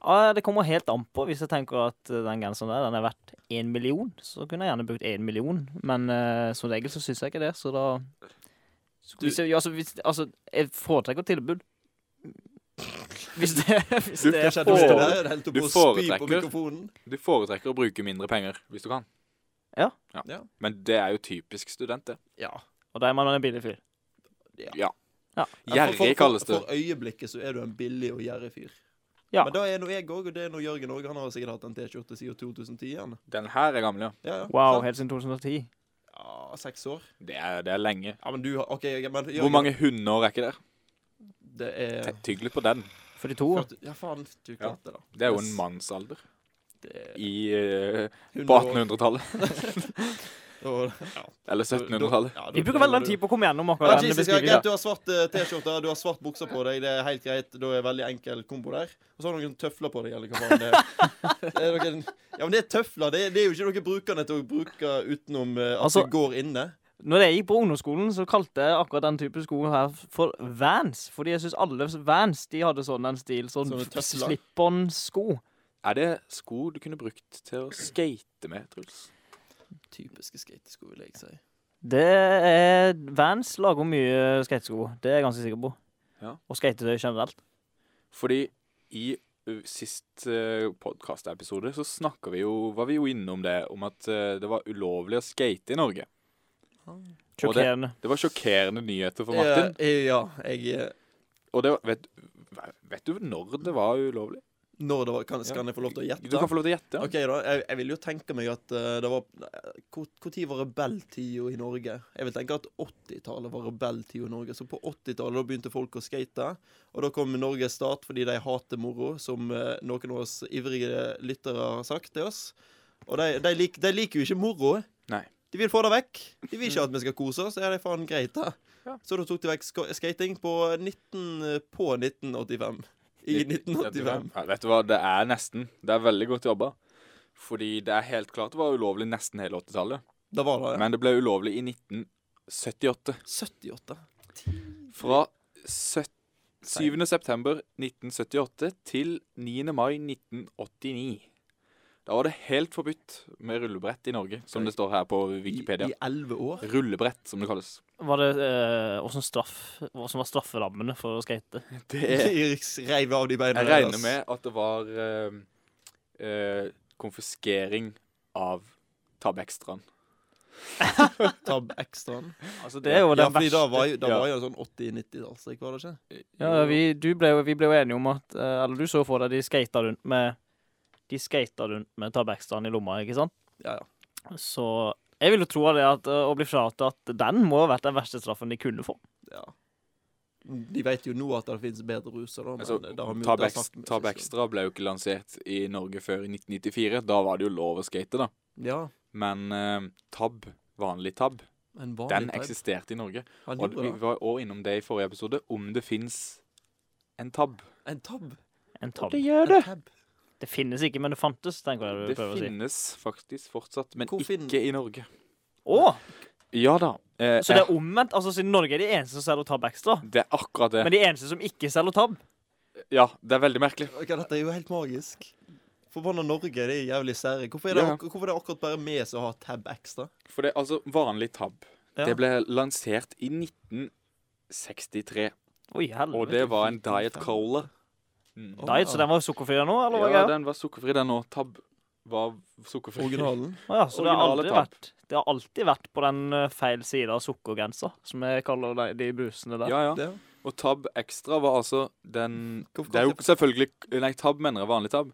[SPEAKER 2] Ah, det kommer helt an på. Hvis jeg tenker at eh, den genseren der den er verdt én million, så kunne jeg gjerne brukt én million. Men eh, som regel så syns jeg ikke det, så da så
[SPEAKER 1] Du-
[SPEAKER 2] hvis jeg, ja, altså, hvis, altså, jeg foretrekker tilbud. Hvis det, *laughs* hvis
[SPEAKER 3] Du
[SPEAKER 2] det
[SPEAKER 1] Hva
[SPEAKER 2] er
[SPEAKER 1] skjedde med det der? Du holdt på
[SPEAKER 2] foretrekker
[SPEAKER 3] foretrekker- du
[SPEAKER 1] å spy på
[SPEAKER 3] foretrekker-
[SPEAKER 1] mikrofonen.
[SPEAKER 3] Du foretrekker å bruke mindre penger hvis du kan.
[SPEAKER 2] Ja.
[SPEAKER 1] Ja.
[SPEAKER 3] Men det er jo typisk student, det.
[SPEAKER 1] Ja.
[SPEAKER 2] Og da er man en billig fyr.
[SPEAKER 1] Ja, for- for-
[SPEAKER 3] Gjerrig kalles det.
[SPEAKER 1] For, for øyeblikket så er du en billig og gjerrig fyr.
[SPEAKER 2] Ja.
[SPEAKER 1] Men da er nå jeg òg, og det er nå Jørgen òg. Han har sikkert hatt en T-skjorte siden 2010. Han.
[SPEAKER 3] Den her er gammel, ja.
[SPEAKER 1] Ja, ja.
[SPEAKER 2] Wow,
[SPEAKER 1] Sant?
[SPEAKER 2] helt siden 2010.
[SPEAKER 1] ja, seks år.
[SPEAKER 3] Det er, det er lenge.
[SPEAKER 1] Ja, men du har OK, jeg- men Jørgen
[SPEAKER 3] Hvor mange hundeår er ikke der?
[SPEAKER 1] Det er
[SPEAKER 3] Tygg litt på den.
[SPEAKER 2] 42.
[SPEAKER 1] 40, Ja, faen, du klarte det, da.
[SPEAKER 3] Det er jo en
[SPEAKER 1] Yes.
[SPEAKER 3] mannsalder
[SPEAKER 1] Det er
[SPEAKER 3] i, eh,
[SPEAKER 1] 100
[SPEAKER 3] på
[SPEAKER 1] år.
[SPEAKER 3] 1800-tallet.
[SPEAKER 1] Og-
[SPEAKER 3] *laughs*
[SPEAKER 1] ja.
[SPEAKER 3] Eller 1700-tallet.
[SPEAKER 1] Ja, da-
[SPEAKER 2] Vi bruker veldig lang tid på å komme gjennom
[SPEAKER 1] ja,
[SPEAKER 2] akkurat den
[SPEAKER 1] Jesus, ja, greit,
[SPEAKER 2] beskrivelsen.
[SPEAKER 1] Du har svart eh, T-skjorte, du har svart bukser på deg, det er helt greit. Da er det veldig enkel kombo der. Og så har du noen tøfler på deg, eller hva faen det er.
[SPEAKER 2] *laughs*
[SPEAKER 1] Det er noen, ja, men det er tøfler. Det, det er jo ikke noe brukerne til å bruke utenom eh, at
[SPEAKER 2] Altså-
[SPEAKER 1] du går inne.
[SPEAKER 2] Når jeg gikk på ungdomsskolen, så kalte jeg akkurat den type sko her for Vans. Fordi jeg syns alle Vans de hadde sånn en stil. Sånn
[SPEAKER 1] Sånne
[SPEAKER 2] f-
[SPEAKER 1] tøfler.
[SPEAKER 2] slip-on-sko.
[SPEAKER 3] Er det sko du kunne brukt til å skate med, Truls?
[SPEAKER 1] Typiske skatesko, vil jeg si.
[SPEAKER 2] Det er Vans lager mye skatesko. Det er jeg ganske sikker på.
[SPEAKER 3] Ja.
[SPEAKER 2] Og skatetøy generelt.
[SPEAKER 3] Fordi i uh, sist uh, podkastepisode så snakka vi jo Var vi jo innom det, om at eh, det var ulovlig å skate i Norge. Og det-
[SPEAKER 2] Sjokkerende.
[SPEAKER 3] Det var sjokkerende nyheter for Martin.
[SPEAKER 1] Ja, jeg eh,
[SPEAKER 3] Og det var, vet, vet du når det var ulovlig?
[SPEAKER 1] Når det var Kan, skal jeg få lov til å
[SPEAKER 3] Du kan
[SPEAKER 1] gjette?
[SPEAKER 3] få lov til å gjette.
[SPEAKER 1] OK, da. Jeg, jeg vil jo tenke meg at eh, det var Når var rebelltida i Norge? Jeg vil tenke at 80-tallet var rebelltida i Norge. Så på 80-tallet da begynte folk å skate. Og da kom Norges stat fordi de hater moro, som eh, noen av oss ivrige lyttere har sagt til oss. Og de, de, lik, de liker jo ikke moro.
[SPEAKER 3] Nei.
[SPEAKER 1] De vil få det vekk. De vil ikke at vi skal kose oss. Er det faen greit, da?
[SPEAKER 3] Ja.
[SPEAKER 1] Så da tok de vekk sk- skating på, 19, på 1985. I 1985.
[SPEAKER 3] Ja, vet du hva, det er nesten. Det er veldig godt jobba. Fordi det er helt klart det var ulovlig nesten hele 80-tallet.
[SPEAKER 1] Da var det
[SPEAKER 3] Men det ble ulovlig i 1978.
[SPEAKER 1] 78.
[SPEAKER 3] Fra søt- 7. september 1978 til 9. mai 1989. Da var det helt forbudt med rullebrett i Norge, som det står her på
[SPEAKER 1] I,
[SPEAKER 3] Wikipedia.
[SPEAKER 1] I 11 år.
[SPEAKER 3] Rullebrett, som det kalles.
[SPEAKER 2] Var det eh, hvordan straff, hva som var strafferammene for å skate?
[SPEAKER 1] *laughs*
[SPEAKER 3] Det er
[SPEAKER 1] Erik reiv av de beina
[SPEAKER 3] Jeg
[SPEAKER 1] der,
[SPEAKER 3] regner
[SPEAKER 1] ass.
[SPEAKER 3] med at det var eh, eh, konfiskering av Tab Extraen.
[SPEAKER 1] Tab Extraen.
[SPEAKER 2] Altså, det er jo
[SPEAKER 1] Ja,
[SPEAKER 2] den
[SPEAKER 1] fordi da var
[SPEAKER 2] verste.
[SPEAKER 1] jo, da
[SPEAKER 3] Ja.
[SPEAKER 1] var jo sånn 80-90-tallstrekk, var det ikke?
[SPEAKER 2] Ja, vi, du ble, jo- vi ble jo enige om at eh, Eller du så for deg de skata rundt med De skata rundt med tabakkstaden i lomma, ikke sant?
[SPEAKER 1] Ja, ja.
[SPEAKER 2] Så jeg vil jo tro av det at eh, å bli fratatt den må ha vært den verste straffen de kunne få.
[SPEAKER 1] ja. De vet jo nå at det finnes bedre ruser, da. Men
[SPEAKER 3] Altså,
[SPEAKER 1] det har vi jo
[SPEAKER 3] Tab,
[SPEAKER 1] ikke
[SPEAKER 3] Ex-
[SPEAKER 1] snakket med-
[SPEAKER 3] Tab Extra ble jo ikke lansert i Norge før i 1994. Da var det jo lov å skate, da.
[SPEAKER 1] Ja,
[SPEAKER 3] Men eh, Tab, vanlig Tab,
[SPEAKER 1] en vanlig
[SPEAKER 3] den
[SPEAKER 1] tab.
[SPEAKER 3] eksisterte i Norge.
[SPEAKER 1] Han
[SPEAKER 3] Og
[SPEAKER 1] gjorde
[SPEAKER 3] vi
[SPEAKER 1] det.
[SPEAKER 3] var òg innom det i forrige episode, om det fins en Tab.
[SPEAKER 1] En tab.
[SPEAKER 2] En tab.
[SPEAKER 3] Det
[SPEAKER 2] Det,
[SPEAKER 3] gjør det!
[SPEAKER 1] En tab.
[SPEAKER 2] finnes ikke, men det fantes, tenker jeg du
[SPEAKER 3] Det
[SPEAKER 2] prøver å si.
[SPEAKER 3] finnes faktisk fortsatt, men
[SPEAKER 1] Hvor fin-
[SPEAKER 3] ikke i Norge.
[SPEAKER 2] Å!
[SPEAKER 3] Ja da. eh,
[SPEAKER 2] Så det er omvendt? Altså, siden Norge er de eneste som selger tab ekstra,
[SPEAKER 3] eh, det er akkurat det.
[SPEAKER 2] men de eneste som ikke selger tab
[SPEAKER 3] Ja, det er veldig merkelig.
[SPEAKER 1] Ok, Dette er jo helt magisk. Forbanna Norge, det er jævlig sære. Hvorfor er det,
[SPEAKER 3] Ja.
[SPEAKER 1] ak- hvorfor er det akkurat bare vi som har tab ekstra?
[SPEAKER 3] For det er altså vanlig tab.
[SPEAKER 1] Ja.
[SPEAKER 3] Det ble lansert i 1963,
[SPEAKER 2] Oi,
[SPEAKER 3] og
[SPEAKER 2] helvete.
[SPEAKER 3] det var en Diet
[SPEAKER 1] fy faen.
[SPEAKER 3] Cola.
[SPEAKER 1] Å,
[SPEAKER 2] Diet, så
[SPEAKER 1] ja.
[SPEAKER 2] den var sukkerfri der nå, eller hva?
[SPEAKER 3] Ja,
[SPEAKER 2] greia?
[SPEAKER 3] den var sukkerfri, den òg. Tab var sukkerfri.
[SPEAKER 1] Originalen.
[SPEAKER 2] Å ja, så det har,
[SPEAKER 3] originale
[SPEAKER 2] aldri
[SPEAKER 3] tab.
[SPEAKER 2] vært, det har alltid vært på den eh, feil sida av sukkergrensa, som jeg kaller de, de brusene der.
[SPEAKER 3] *laughs* Ja, ja.
[SPEAKER 1] Det.
[SPEAKER 3] Og Tab Extra var altså den
[SPEAKER 1] Hvorfor
[SPEAKER 3] Det er jo
[SPEAKER 1] kom det-
[SPEAKER 3] selvfølgelig Nei, Tab mener jeg vanlig Tab.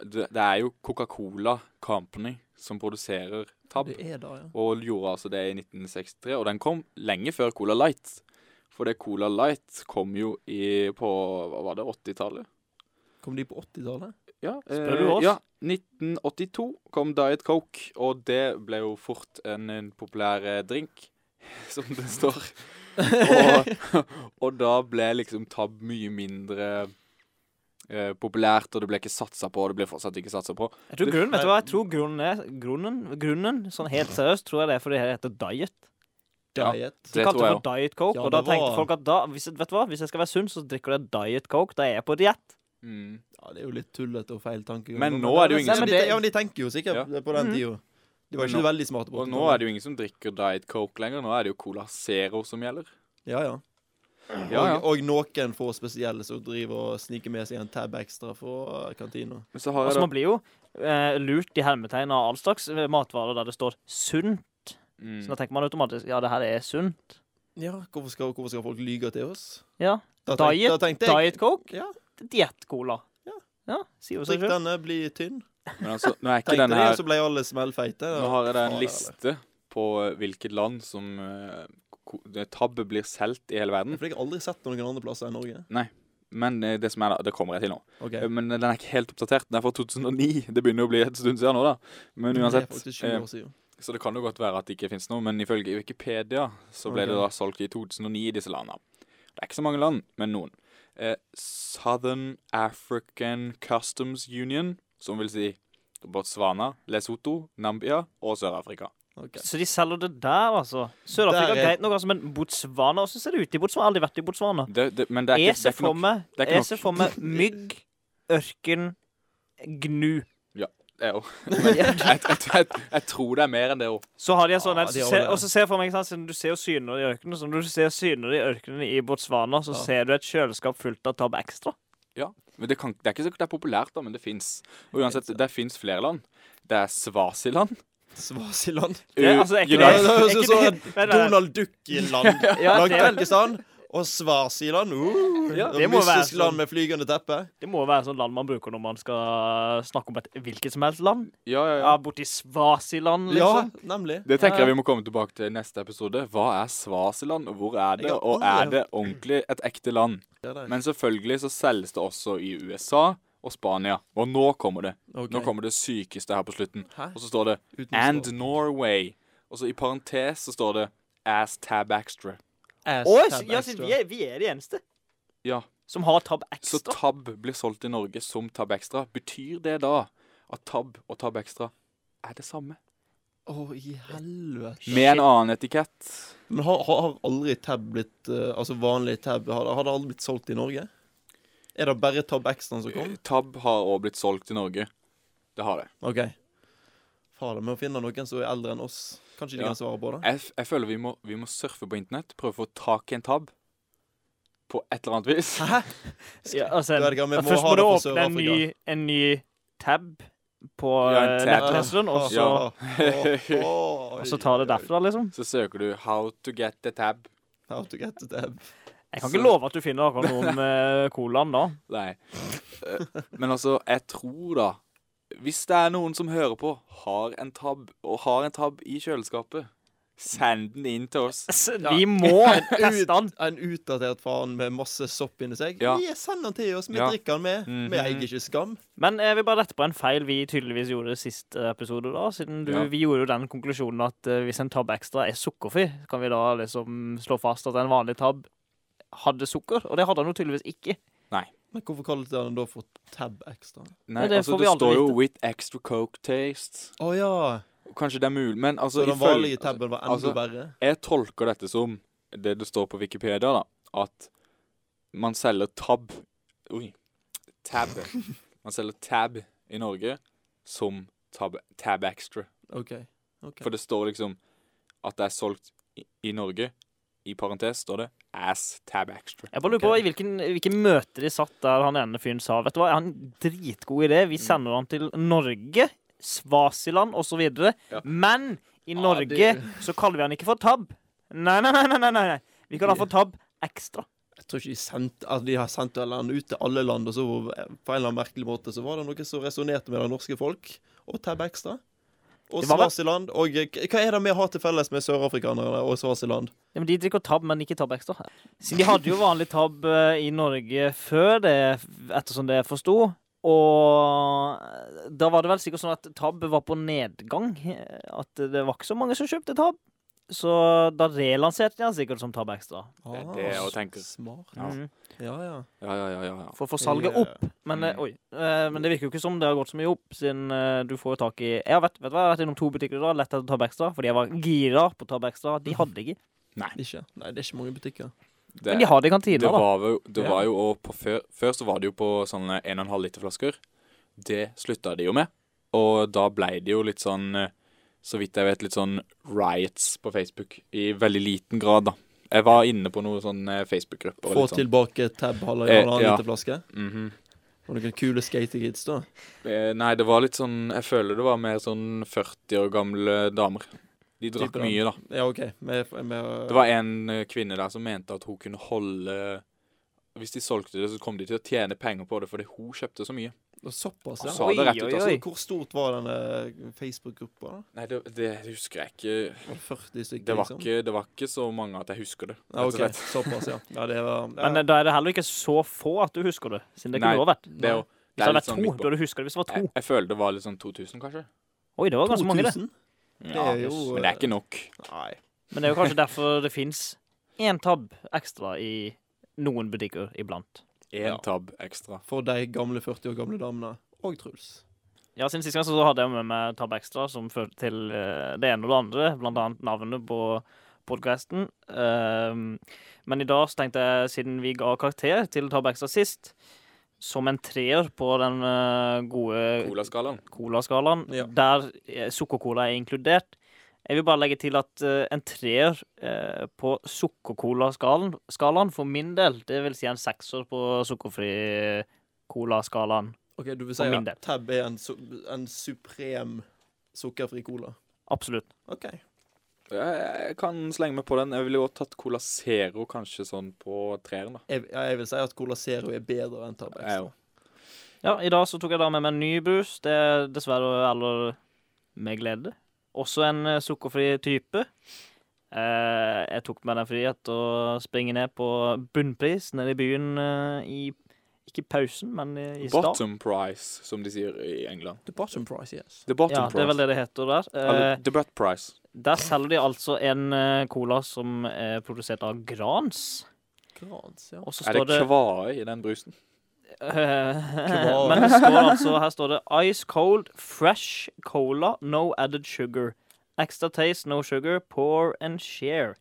[SPEAKER 3] Det, det er jo Coca-Cola Company som produserer Tab,
[SPEAKER 1] det er da, ja.
[SPEAKER 3] og gjorde altså det i 1963. Og den kom lenge før Cola Light. For det Cola Light kom jo i på Hva var det? 80-tallet?
[SPEAKER 1] Kom de på 80-tallet?
[SPEAKER 3] Ja, eh,
[SPEAKER 2] Spør du oss?
[SPEAKER 3] Ja, 1982 kom Diet Coke, og det ble jo fort en, en populær eh, drink, *laughs* som det står. Og, og da ble liksom Tab mye mindre eh, populært, og det ble ikke satsa på, og det ble fortsatt ikke satsa på.
[SPEAKER 2] Jeg tror grunnen, vet du hva? Jeg tror grunnen er Grunnen, grunnen sånn helt seriøst, tror jeg det er fordi det heter diet.
[SPEAKER 3] Ja.
[SPEAKER 1] Diet.
[SPEAKER 2] De
[SPEAKER 3] Det
[SPEAKER 2] kalte
[SPEAKER 3] tror
[SPEAKER 2] det
[SPEAKER 3] jeg
[SPEAKER 2] for diet coke,
[SPEAKER 1] Ja,
[SPEAKER 2] og da
[SPEAKER 1] det
[SPEAKER 2] tenkte
[SPEAKER 1] var-
[SPEAKER 2] folk at da hvis, Vet du hva, hvis jeg skal være sunn, så drikker jeg diet coke. Da er jeg på diett.
[SPEAKER 3] Mm.
[SPEAKER 1] Ja, det er jo litt tullete og feil tanke.
[SPEAKER 3] Men nå er det jo ingen
[SPEAKER 1] som
[SPEAKER 2] som-
[SPEAKER 1] de, Ja, men de tenker jo sikkert på den
[SPEAKER 2] Mhm.
[SPEAKER 1] tida. De var
[SPEAKER 3] Men
[SPEAKER 1] ikke
[SPEAKER 3] nå-
[SPEAKER 1] veldig smarte på
[SPEAKER 3] Og nå er det jo ingen som drikker Diet Coke lenger, nå er det jo Cola Zero som gjelder.
[SPEAKER 1] Ja, ja.
[SPEAKER 3] Ja, ja.
[SPEAKER 1] Og, og noen få spesielle som driver og sniker med seg en tab ekstra fra kantina.
[SPEAKER 3] Men så har jeg
[SPEAKER 2] Altså,
[SPEAKER 3] da
[SPEAKER 2] man blir jo eh, lurt i hermetegn av all slags eh, matvarer der det står 'sunn'. Så da
[SPEAKER 3] mm.
[SPEAKER 2] tenker man automatisk ja, det her er sunt.
[SPEAKER 1] Ja, hvorfor skal, hvorfor skal folk lyge til oss?
[SPEAKER 2] Ja.
[SPEAKER 1] Da tenk-
[SPEAKER 2] Diet,
[SPEAKER 1] da tenkte jeg,
[SPEAKER 2] diet coke,
[SPEAKER 1] Ja.
[SPEAKER 2] diett-cola.
[SPEAKER 1] Ja.
[SPEAKER 2] ja. Sier jo seg
[SPEAKER 1] Drikk
[SPEAKER 2] sjøl.
[SPEAKER 1] denne, bli tynn.
[SPEAKER 3] Men altså, nå er ikke
[SPEAKER 1] Tenkte
[SPEAKER 3] denne
[SPEAKER 1] det,
[SPEAKER 3] her
[SPEAKER 1] og så ble alle smellfeite.
[SPEAKER 3] Nå har jeg da en
[SPEAKER 1] Faen,
[SPEAKER 3] liste på eh, hvilket land som eh, ko- det- Tab blir solgt i hele
[SPEAKER 1] eller?
[SPEAKER 3] verden.
[SPEAKER 1] For jeg har aldri sett noen andre plasser enn Norge.
[SPEAKER 3] Men eh, det som er da, det kommer jeg til nå.
[SPEAKER 1] Ok,
[SPEAKER 3] Eh, Men den er ikke helt oppdatert. Den er fra 2009. Det begynner å bli et stund siden nå, da. Men
[SPEAKER 1] Det er
[SPEAKER 3] uansett.
[SPEAKER 1] faktisk 20
[SPEAKER 3] eh,
[SPEAKER 1] år siden.
[SPEAKER 3] Så det kan jo godt være at det ikke finnes noe, men ifølge Wikipedia så ble
[SPEAKER 1] Ok.
[SPEAKER 3] det da solgt i 2009 i disse landene. Det er ikke så mange land, men noen. Eh, Southern African Customs Union, som vil si Botswana, Lesotho, Nambia og Sør-Afrika.
[SPEAKER 1] Ok.
[SPEAKER 2] Så de selger det der, altså. Sør-Afrika
[SPEAKER 1] Der
[SPEAKER 2] er
[SPEAKER 1] er-
[SPEAKER 2] greit nok, altså, men Botswana Hvordan ser det ut i Botswana? Jeg har aldri vært i Botswana.
[SPEAKER 3] Det, det, men det er
[SPEAKER 2] Jeg
[SPEAKER 3] ikke, det
[SPEAKER 2] ser
[SPEAKER 3] er ikke
[SPEAKER 2] for
[SPEAKER 3] nok.
[SPEAKER 2] meg
[SPEAKER 3] Det er ikke
[SPEAKER 2] Jeg
[SPEAKER 3] nok.
[SPEAKER 2] ser for meg mygg, ørken, gnu.
[SPEAKER 3] Det er jo- *laughs* Men jeg, jeg, jeg, jeg tror det er mer enn det òg.
[SPEAKER 2] Så har de en sånn
[SPEAKER 1] Ja,
[SPEAKER 2] en-
[SPEAKER 1] de har
[SPEAKER 2] se-
[SPEAKER 1] det.
[SPEAKER 2] Og så ser jeg for meg, ikke sant, siden du ser jo syner i ørkenen Så når du ser syner i ørkenen i Botswana, så
[SPEAKER 1] Ja.
[SPEAKER 2] ser du et kjøleskap fullt av Tab Extra.
[SPEAKER 3] Men det, kan, det er ikke sikkert det er populært, da, men det fins. Og uansett, det fins flere land. Det er Svasiland.
[SPEAKER 1] Svasiland.
[SPEAKER 2] Det, er- altså, er ikke det,
[SPEAKER 1] Nei,
[SPEAKER 3] United-
[SPEAKER 1] det
[SPEAKER 2] er
[SPEAKER 1] høres
[SPEAKER 2] ikke
[SPEAKER 1] ut som
[SPEAKER 2] det, Nei, nei, nei.
[SPEAKER 1] Donald Duck i land.
[SPEAKER 2] *laughs* Ja, det er vel-
[SPEAKER 1] Langtekkistan og Svasiland. Uh,
[SPEAKER 2] Ja,
[SPEAKER 1] og
[SPEAKER 2] det må være
[SPEAKER 1] mystisk land
[SPEAKER 2] sånn.
[SPEAKER 1] med flygende teppe.
[SPEAKER 2] det må være sånn land man bruker når man skal snakke om et hvilket som helst land.
[SPEAKER 3] Ja, ja, ja.
[SPEAKER 2] Ja, Borti Svasiland,
[SPEAKER 1] Ja,
[SPEAKER 2] liksom.
[SPEAKER 1] nemlig.
[SPEAKER 3] Det tenker jeg vi må komme tilbake til i neste episode. Hva er Svasiland, og hvor er det?
[SPEAKER 1] Jeg har
[SPEAKER 3] Og
[SPEAKER 1] aldri
[SPEAKER 3] er det ordentlig et ekte land?
[SPEAKER 1] Ja, det er-
[SPEAKER 3] Men selvfølgelig så selges det også i USA og Spania. Og nå kommer det.
[SPEAKER 1] ok.
[SPEAKER 3] Nå kommer det sykeste her på slutten.
[SPEAKER 1] Hæ?
[SPEAKER 3] Og så står det
[SPEAKER 1] Uten svar.
[SPEAKER 3] And Norway. Og så i parentes så står det Ass Tab Extra.
[SPEAKER 1] Ass
[SPEAKER 2] Å,
[SPEAKER 1] tab
[SPEAKER 2] ja, siden
[SPEAKER 1] extra.
[SPEAKER 2] vi er, vi er de eneste
[SPEAKER 3] Ja,
[SPEAKER 2] som har tab
[SPEAKER 3] Så
[SPEAKER 2] extra.
[SPEAKER 3] Tab blir solgt i Norge som Tab Extra. Betyr det da at Tab og Tab Extra er det samme?
[SPEAKER 1] Å, i helvete.
[SPEAKER 3] Med en annen etikett.
[SPEAKER 1] Men har, har, har aldri tab blitt eh, Altså vanlig tab har, har det aldri blitt solgt i Norge? Er det bare Tab Extraen som kom?
[SPEAKER 3] Tab har òg blitt solgt i Norge. Det har det.
[SPEAKER 1] OK. Fader, vi må finne noen som er eldre enn oss. Kanskje de
[SPEAKER 3] Ja.
[SPEAKER 1] kan svare på det?
[SPEAKER 3] Jeg, f- jeg føler vi må, vi må surfe på internett, prøve å få tak i en tab. På et eller annet vis.
[SPEAKER 1] Hæ?
[SPEAKER 2] Ja, altså,
[SPEAKER 1] Du, Edgar, vi må
[SPEAKER 2] først
[SPEAKER 1] ha
[SPEAKER 2] må du
[SPEAKER 1] det for
[SPEAKER 2] åpne en
[SPEAKER 1] Sør-Afrika.
[SPEAKER 2] ny, en ny tab på
[SPEAKER 3] Ja, en
[SPEAKER 2] eh,
[SPEAKER 3] tab.
[SPEAKER 2] nettleseren, og så,
[SPEAKER 3] Ja. *laughs*
[SPEAKER 2] og så ta det derfra, liksom.
[SPEAKER 3] Så søker du 'How to get the tab'.
[SPEAKER 1] How to get to tab.
[SPEAKER 2] Jeg kan ikke love at du finner akkurat
[SPEAKER 3] *laughs*
[SPEAKER 2] noe om eh, colaen da.
[SPEAKER 3] Nei. Eh, Men altså, jeg tror da Hvis det er noen som hører på, har en tab, og har en tab i kjøleskapet, send den inn til oss.
[SPEAKER 2] S- Vi
[SPEAKER 3] *laughs*
[SPEAKER 2] må teste den.
[SPEAKER 1] En utdatert faen med masse sopp inni seg.
[SPEAKER 3] Ja.
[SPEAKER 1] Vi sender den til oss, vi
[SPEAKER 3] Ja.
[SPEAKER 1] drikker den med.
[SPEAKER 3] Mhm.
[SPEAKER 1] Vi eier ikke skam.
[SPEAKER 2] Men jeg vil bare rette på en feil vi tydeligvis gjorde sist eh, episode, da. Siden du,
[SPEAKER 3] Ja.
[SPEAKER 2] vi gjorde jo den konklusjonen at eh, hvis en tab ekstra er sukkerfri, kan vi da liksom slå fast at en vanlig tab hadde sukker, og det hadde han jo tydeligvis ikke.
[SPEAKER 1] Men hvorfor kalte dere den da for Tab Extra?
[SPEAKER 3] Nei,
[SPEAKER 2] Ja, det
[SPEAKER 3] altså,
[SPEAKER 2] får vi
[SPEAKER 3] det
[SPEAKER 2] aldri
[SPEAKER 3] står jo
[SPEAKER 2] vite.
[SPEAKER 3] 'with extra coke taste'.
[SPEAKER 1] Å ja.
[SPEAKER 3] Kanskje det er mulig, men
[SPEAKER 1] Så
[SPEAKER 3] altså
[SPEAKER 1] den
[SPEAKER 3] ifølge-
[SPEAKER 1] vanlige taben var enda
[SPEAKER 3] altså-
[SPEAKER 1] verre?
[SPEAKER 3] Jeg tolker dette som det det står på Wikipedia, da. At man selger tab Oi. *laughs* Tab. Man selger tab i Norge som tab, tab extra.
[SPEAKER 1] OK. ok
[SPEAKER 3] For det står liksom at det er solgt i, i Norge. I parentes står det as tab extra.
[SPEAKER 2] Jeg bare lurer på
[SPEAKER 1] Ok.
[SPEAKER 2] i hvilken, i hvilken møte de satt der han ene fyren sa Vet du hva, jeg har en dritgod idé. Vi sender han til Norge, Svasiland osv.
[SPEAKER 3] Ja.
[SPEAKER 2] Men i
[SPEAKER 1] Ja,
[SPEAKER 2] Norge
[SPEAKER 1] det-
[SPEAKER 2] så kaller vi han ikke for tab. Nei, nei, nei. nei, nei, nei. Vi kaller han for tab ekstra.
[SPEAKER 1] Jeg tror ikke de sendte altså, De har sendt den ut til alle land, og så på en eller annen merkelig måte så var det noe som resonnerte med det norske folk, og Tab Extra. Og
[SPEAKER 2] Det var vel-
[SPEAKER 1] Svasiland. Og eh, hva er det vi har til felles med sørafrikanerne og Svasiland?
[SPEAKER 2] Ja, men De drikker tab, men ikke tab ekstra. Siden de hadde jo vanlig tab eh, i Norge før det, ettersom det jeg forsto. Og da var det vel sikkert sånn at tab var på nedgang. eh, At det var ikke så mange som kjøpte tab. Så da relanserte de den sikkert som tab ekstra.
[SPEAKER 1] Ah,
[SPEAKER 3] er det jeg tenker.
[SPEAKER 1] Smart.
[SPEAKER 3] Ja.
[SPEAKER 2] Mhm.
[SPEAKER 1] Ja, ja.
[SPEAKER 3] Ja, ja, ja, ja, ja.
[SPEAKER 2] For å få salget
[SPEAKER 1] Ja.
[SPEAKER 2] opp. Men, eh,
[SPEAKER 3] Mm.
[SPEAKER 2] oi, eh, men det virker jo ikke som det har gått så mye opp, siden eh, du får jo tak i Jeg har vært, vet du hva, jeg har vært innom to butikker i dag, lett etter tab ekstra, fordi jeg var gira på tab ekstra.
[SPEAKER 3] Mm.
[SPEAKER 2] De hadde ikke.
[SPEAKER 1] Ikke? Nei, det er ikke mange butikker.
[SPEAKER 3] Det,
[SPEAKER 2] Men de har det i
[SPEAKER 3] det
[SPEAKER 2] kantina, da.
[SPEAKER 3] var jo, det
[SPEAKER 1] Ja.
[SPEAKER 3] var jo også på før, før så var det jo på sånne 1,5 liter flasker. Det slutta de jo med. Og da blei det jo litt sånn, eh, så vidt jeg vet, litt sånn riots på Facebook. I veldig liten grad, da. Jeg var inne på noen sånne Facebook-grupper. og
[SPEAKER 1] Få
[SPEAKER 3] litt sånn.
[SPEAKER 1] tilbake Tab Halla i
[SPEAKER 3] Eh,
[SPEAKER 1] en annen
[SPEAKER 3] ja.
[SPEAKER 1] liten flaske.
[SPEAKER 3] Mhm.
[SPEAKER 1] Og noen kule skatekids, da.
[SPEAKER 3] Eh, Nei, det var litt sånn Jeg føler det var mer sånn 40 år gamle damer. De drakk
[SPEAKER 1] Typer da.
[SPEAKER 3] mye, da.
[SPEAKER 1] Ja, OK. Med, med,
[SPEAKER 3] Det var en eh, kvinne der som mente at hun kunne holde Hvis de solgte det, så kom de til å tjene penger på det fordi hun kjøpte så mye.
[SPEAKER 1] Såpass,
[SPEAKER 3] Hun
[SPEAKER 1] ja.
[SPEAKER 3] sa det rett ut,
[SPEAKER 2] Oi,
[SPEAKER 1] Så,
[SPEAKER 3] altså.
[SPEAKER 2] oi.
[SPEAKER 1] hvor stort var denne Facebook-gruppa? da?
[SPEAKER 3] Nei, det, det husker jeg ikke.
[SPEAKER 1] Var det 40 stykker,
[SPEAKER 3] Det var
[SPEAKER 1] liksom?
[SPEAKER 3] ikke, det var ikke så mange at jeg husker det.
[SPEAKER 1] Ja,
[SPEAKER 3] rett og
[SPEAKER 1] OK.
[SPEAKER 3] slett.
[SPEAKER 1] Såpass, ja. ja det
[SPEAKER 3] *laughs*
[SPEAKER 1] var, ja.
[SPEAKER 2] Men eh, da er det heller ikke så få at du husker det. Siden det
[SPEAKER 3] Nei.
[SPEAKER 2] kunne jo ha vært.
[SPEAKER 3] Det er jo
[SPEAKER 2] Hvis
[SPEAKER 3] det
[SPEAKER 2] det
[SPEAKER 3] er
[SPEAKER 2] hadde
[SPEAKER 3] litt
[SPEAKER 2] vært
[SPEAKER 3] sånn
[SPEAKER 2] to,
[SPEAKER 3] midt
[SPEAKER 2] da
[SPEAKER 3] på.
[SPEAKER 2] hadde du huska det hvis det var
[SPEAKER 3] Jeg,
[SPEAKER 2] to.
[SPEAKER 3] jeg føler det var litt sånn 2000, kanskje.
[SPEAKER 2] Oi, det var ganske mange, det.
[SPEAKER 3] Ja,
[SPEAKER 1] er jo, eh,
[SPEAKER 3] Men det er ikke nok.
[SPEAKER 1] Nei.
[SPEAKER 2] Men det er jo
[SPEAKER 3] *laughs*
[SPEAKER 2] kanskje derfor det fins én tab ekstra i noen butikker iblant.
[SPEAKER 3] Én
[SPEAKER 1] Ja.
[SPEAKER 3] tab ekstra.
[SPEAKER 1] For de gamle 40 år gamle damene. Og Truls.
[SPEAKER 2] Ja, siden sist gang så hadde jeg med meg tab ekstra, som førte til eh, det ene og det andre, blant annet navnet på podkasten. men i dag så tenkte jeg, siden vi ga karakter til tab ekstra sist, som en treer på den eh, gode
[SPEAKER 3] Colaskalaen.
[SPEAKER 2] colaskalaen,
[SPEAKER 1] Ja.
[SPEAKER 2] der eh, sukkercola er inkludert. Jeg vil bare legge til at eh, en treer eh, på sukkercolaskalaen skalaen for min del, det vil si en sekser på sukkerfri colaskalaen.
[SPEAKER 1] OK, du vil si
[SPEAKER 2] For min
[SPEAKER 1] at
[SPEAKER 2] del.
[SPEAKER 1] Tab er en, su- en suprem sukkerfri cola?
[SPEAKER 2] Absolutt.
[SPEAKER 1] OK.
[SPEAKER 3] Jeg, jeg kan slenge meg på den. Jeg ville jo tatt Cola Zero kanskje sånn på treeren, da.
[SPEAKER 1] Jeg, ja, jeg vil si at Cola Zero er bedre enn Tab
[SPEAKER 3] Jeg
[SPEAKER 1] Extra.
[SPEAKER 3] òg.
[SPEAKER 2] Ja, i dag så tok jeg da med meg en ny brus. Det er dessverre eller med glede. Også en eh, sukkerfri type. Eh, jeg tok meg den frihet å springe ned på Bunnpris nede i byen eh, i Ikke i pausen, men i, i start.
[SPEAKER 3] Bottom price, som de sier i England.
[SPEAKER 1] The bottom price, yes.
[SPEAKER 3] The bottom
[SPEAKER 2] Ja, det er vel
[SPEAKER 3] price.
[SPEAKER 2] det det heter der. Eh,
[SPEAKER 3] Eller the butt price.
[SPEAKER 2] der selger de altså en eh, cola som er produsert av Grans.
[SPEAKER 1] Grans, ja.
[SPEAKER 2] Og så
[SPEAKER 3] Er
[SPEAKER 2] står *laughs*
[SPEAKER 3] det
[SPEAKER 2] det
[SPEAKER 3] kvae i den brusen?
[SPEAKER 1] Kebab.
[SPEAKER 2] Men det står altså, her står det Ice cold, fresh cola, no added sugar. Extra taste, no sugar, pour and share.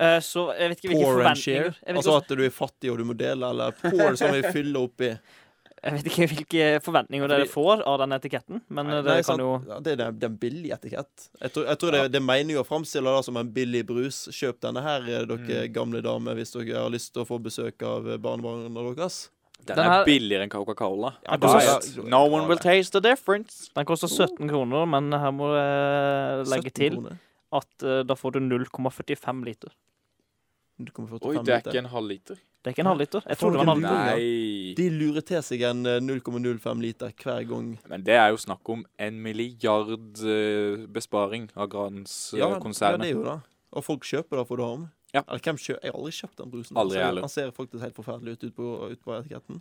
[SPEAKER 2] Eh, så jeg vet ikke hvilke
[SPEAKER 1] Pour and
[SPEAKER 2] forventninger
[SPEAKER 1] share.
[SPEAKER 2] jeg vet,
[SPEAKER 1] Altså
[SPEAKER 2] ikke,
[SPEAKER 1] at du er fattig og du må dele, eller pour som vi fyller
[SPEAKER 2] *laughs*
[SPEAKER 1] oppi.
[SPEAKER 2] jeg vet ikke hvilke forventninger dere
[SPEAKER 1] Fordi-
[SPEAKER 2] får av den etiketten, men
[SPEAKER 1] Nei,
[SPEAKER 2] eh,
[SPEAKER 1] nei,
[SPEAKER 2] dere
[SPEAKER 1] sant.
[SPEAKER 2] kan jo
[SPEAKER 1] ja, Det er den, den billige etikett. Jeg tror, jeg tror det, det er meningen å framstille det som en billig brus. Kjøp denne her, eh, dere
[SPEAKER 2] Mm.
[SPEAKER 1] gamle damer, hvis dere har lyst til å få besøk av eh, barnebarna deres.
[SPEAKER 3] Den,
[SPEAKER 2] Den her-
[SPEAKER 3] er billigere enn Coca-Cola.
[SPEAKER 1] Ja,
[SPEAKER 2] det er-
[SPEAKER 3] Diet. No one will taste the difference.
[SPEAKER 2] Den koster 17 kroner, men her må jeg legge
[SPEAKER 1] 17
[SPEAKER 2] til
[SPEAKER 1] kroner.
[SPEAKER 2] at eh, da får du 0,45 liter.
[SPEAKER 1] Du kommer
[SPEAKER 3] Oi,
[SPEAKER 1] 45
[SPEAKER 3] det er
[SPEAKER 1] liter.
[SPEAKER 3] ikke en halv liter.
[SPEAKER 2] Det er ikke en halvliter. Jeg
[SPEAKER 1] Får
[SPEAKER 2] trodde
[SPEAKER 1] du
[SPEAKER 2] det var en
[SPEAKER 1] ikke
[SPEAKER 2] halvliter.
[SPEAKER 1] en
[SPEAKER 3] Nei.
[SPEAKER 1] De lurer til seg en eh, 0,05 liter hver gang.
[SPEAKER 3] Men det er jo snakk om en milliard eh, besparing av eh,
[SPEAKER 1] Ja, ja, det
[SPEAKER 3] Grans-konsernet.
[SPEAKER 1] er jo det. Og folk kjøper det for det om.
[SPEAKER 3] Ja.
[SPEAKER 1] Eller, hvem kjø- Jeg har aldri kjøpt den brusen.
[SPEAKER 3] Aldri
[SPEAKER 1] Den ser-
[SPEAKER 3] heller.
[SPEAKER 1] den ser faktisk helt forferdelig ut ut på, ut på etiketten.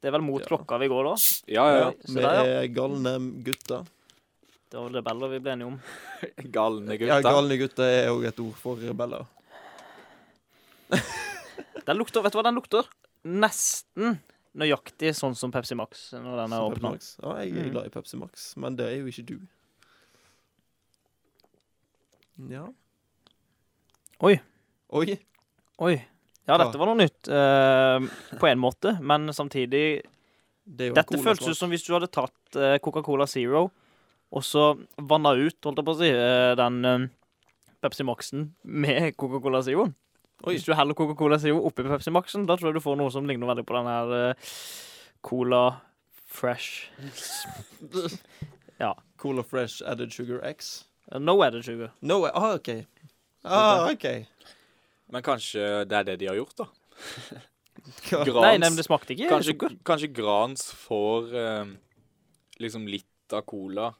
[SPEAKER 2] Det er vel mot
[SPEAKER 1] Ja.
[SPEAKER 2] klokka vi går, da.
[SPEAKER 3] Ja, ja, ja.
[SPEAKER 2] Så
[SPEAKER 1] Vi
[SPEAKER 2] der,
[SPEAKER 1] er eh, galne gutter.
[SPEAKER 2] Det var rebeller vi ble enige om.
[SPEAKER 3] *laughs* Galne
[SPEAKER 1] Ja,
[SPEAKER 3] gutter.
[SPEAKER 1] galne gutter er òg et ord for rebeller.
[SPEAKER 2] Den lukter, Vet du hva den lukter? Nesten nøyaktig sånn som Pepsi Max når den er
[SPEAKER 1] som Pepsi
[SPEAKER 2] åpna.
[SPEAKER 1] Max. Ja, jeg
[SPEAKER 3] Mm.
[SPEAKER 1] er
[SPEAKER 2] Mhm.
[SPEAKER 1] glad i Pepsi Max, men det er jo ikke du. Ja.
[SPEAKER 2] Oi.
[SPEAKER 1] Oi.
[SPEAKER 2] Oi. Ja, dette var noe nytt. eh, på en måte, men samtidig
[SPEAKER 1] Det er jo
[SPEAKER 2] Dette føltes ut som hvis du hadde tatt eh, Coca-Cola Zero og så vanna ut, holdt jeg på å si, eh, den eh, Pepsi Maxen med *laughs* Coca-Cola Zeroen.
[SPEAKER 1] Oi.
[SPEAKER 2] Hvis du heller Coca-Cola Zero oppi Pepsi Maxen, da tror jeg du får noe som ligner veldig på den her eh, Cola Fresh Ja.
[SPEAKER 1] Cola Fresh Added Sugar X.
[SPEAKER 2] Eh, No added sugar.
[SPEAKER 1] No, ah, OK. Ah, OK.
[SPEAKER 3] Men kanskje det er det de har gjort,
[SPEAKER 1] *laughs*
[SPEAKER 3] da.
[SPEAKER 1] Hva?
[SPEAKER 3] Grans.
[SPEAKER 2] Nei, nei, men det smakte ikke
[SPEAKER 3] Kanskje,
[SPEAKER 2] sukker.
[SPEAKER 3] kanskje Grans får eh, liksom litt av cola.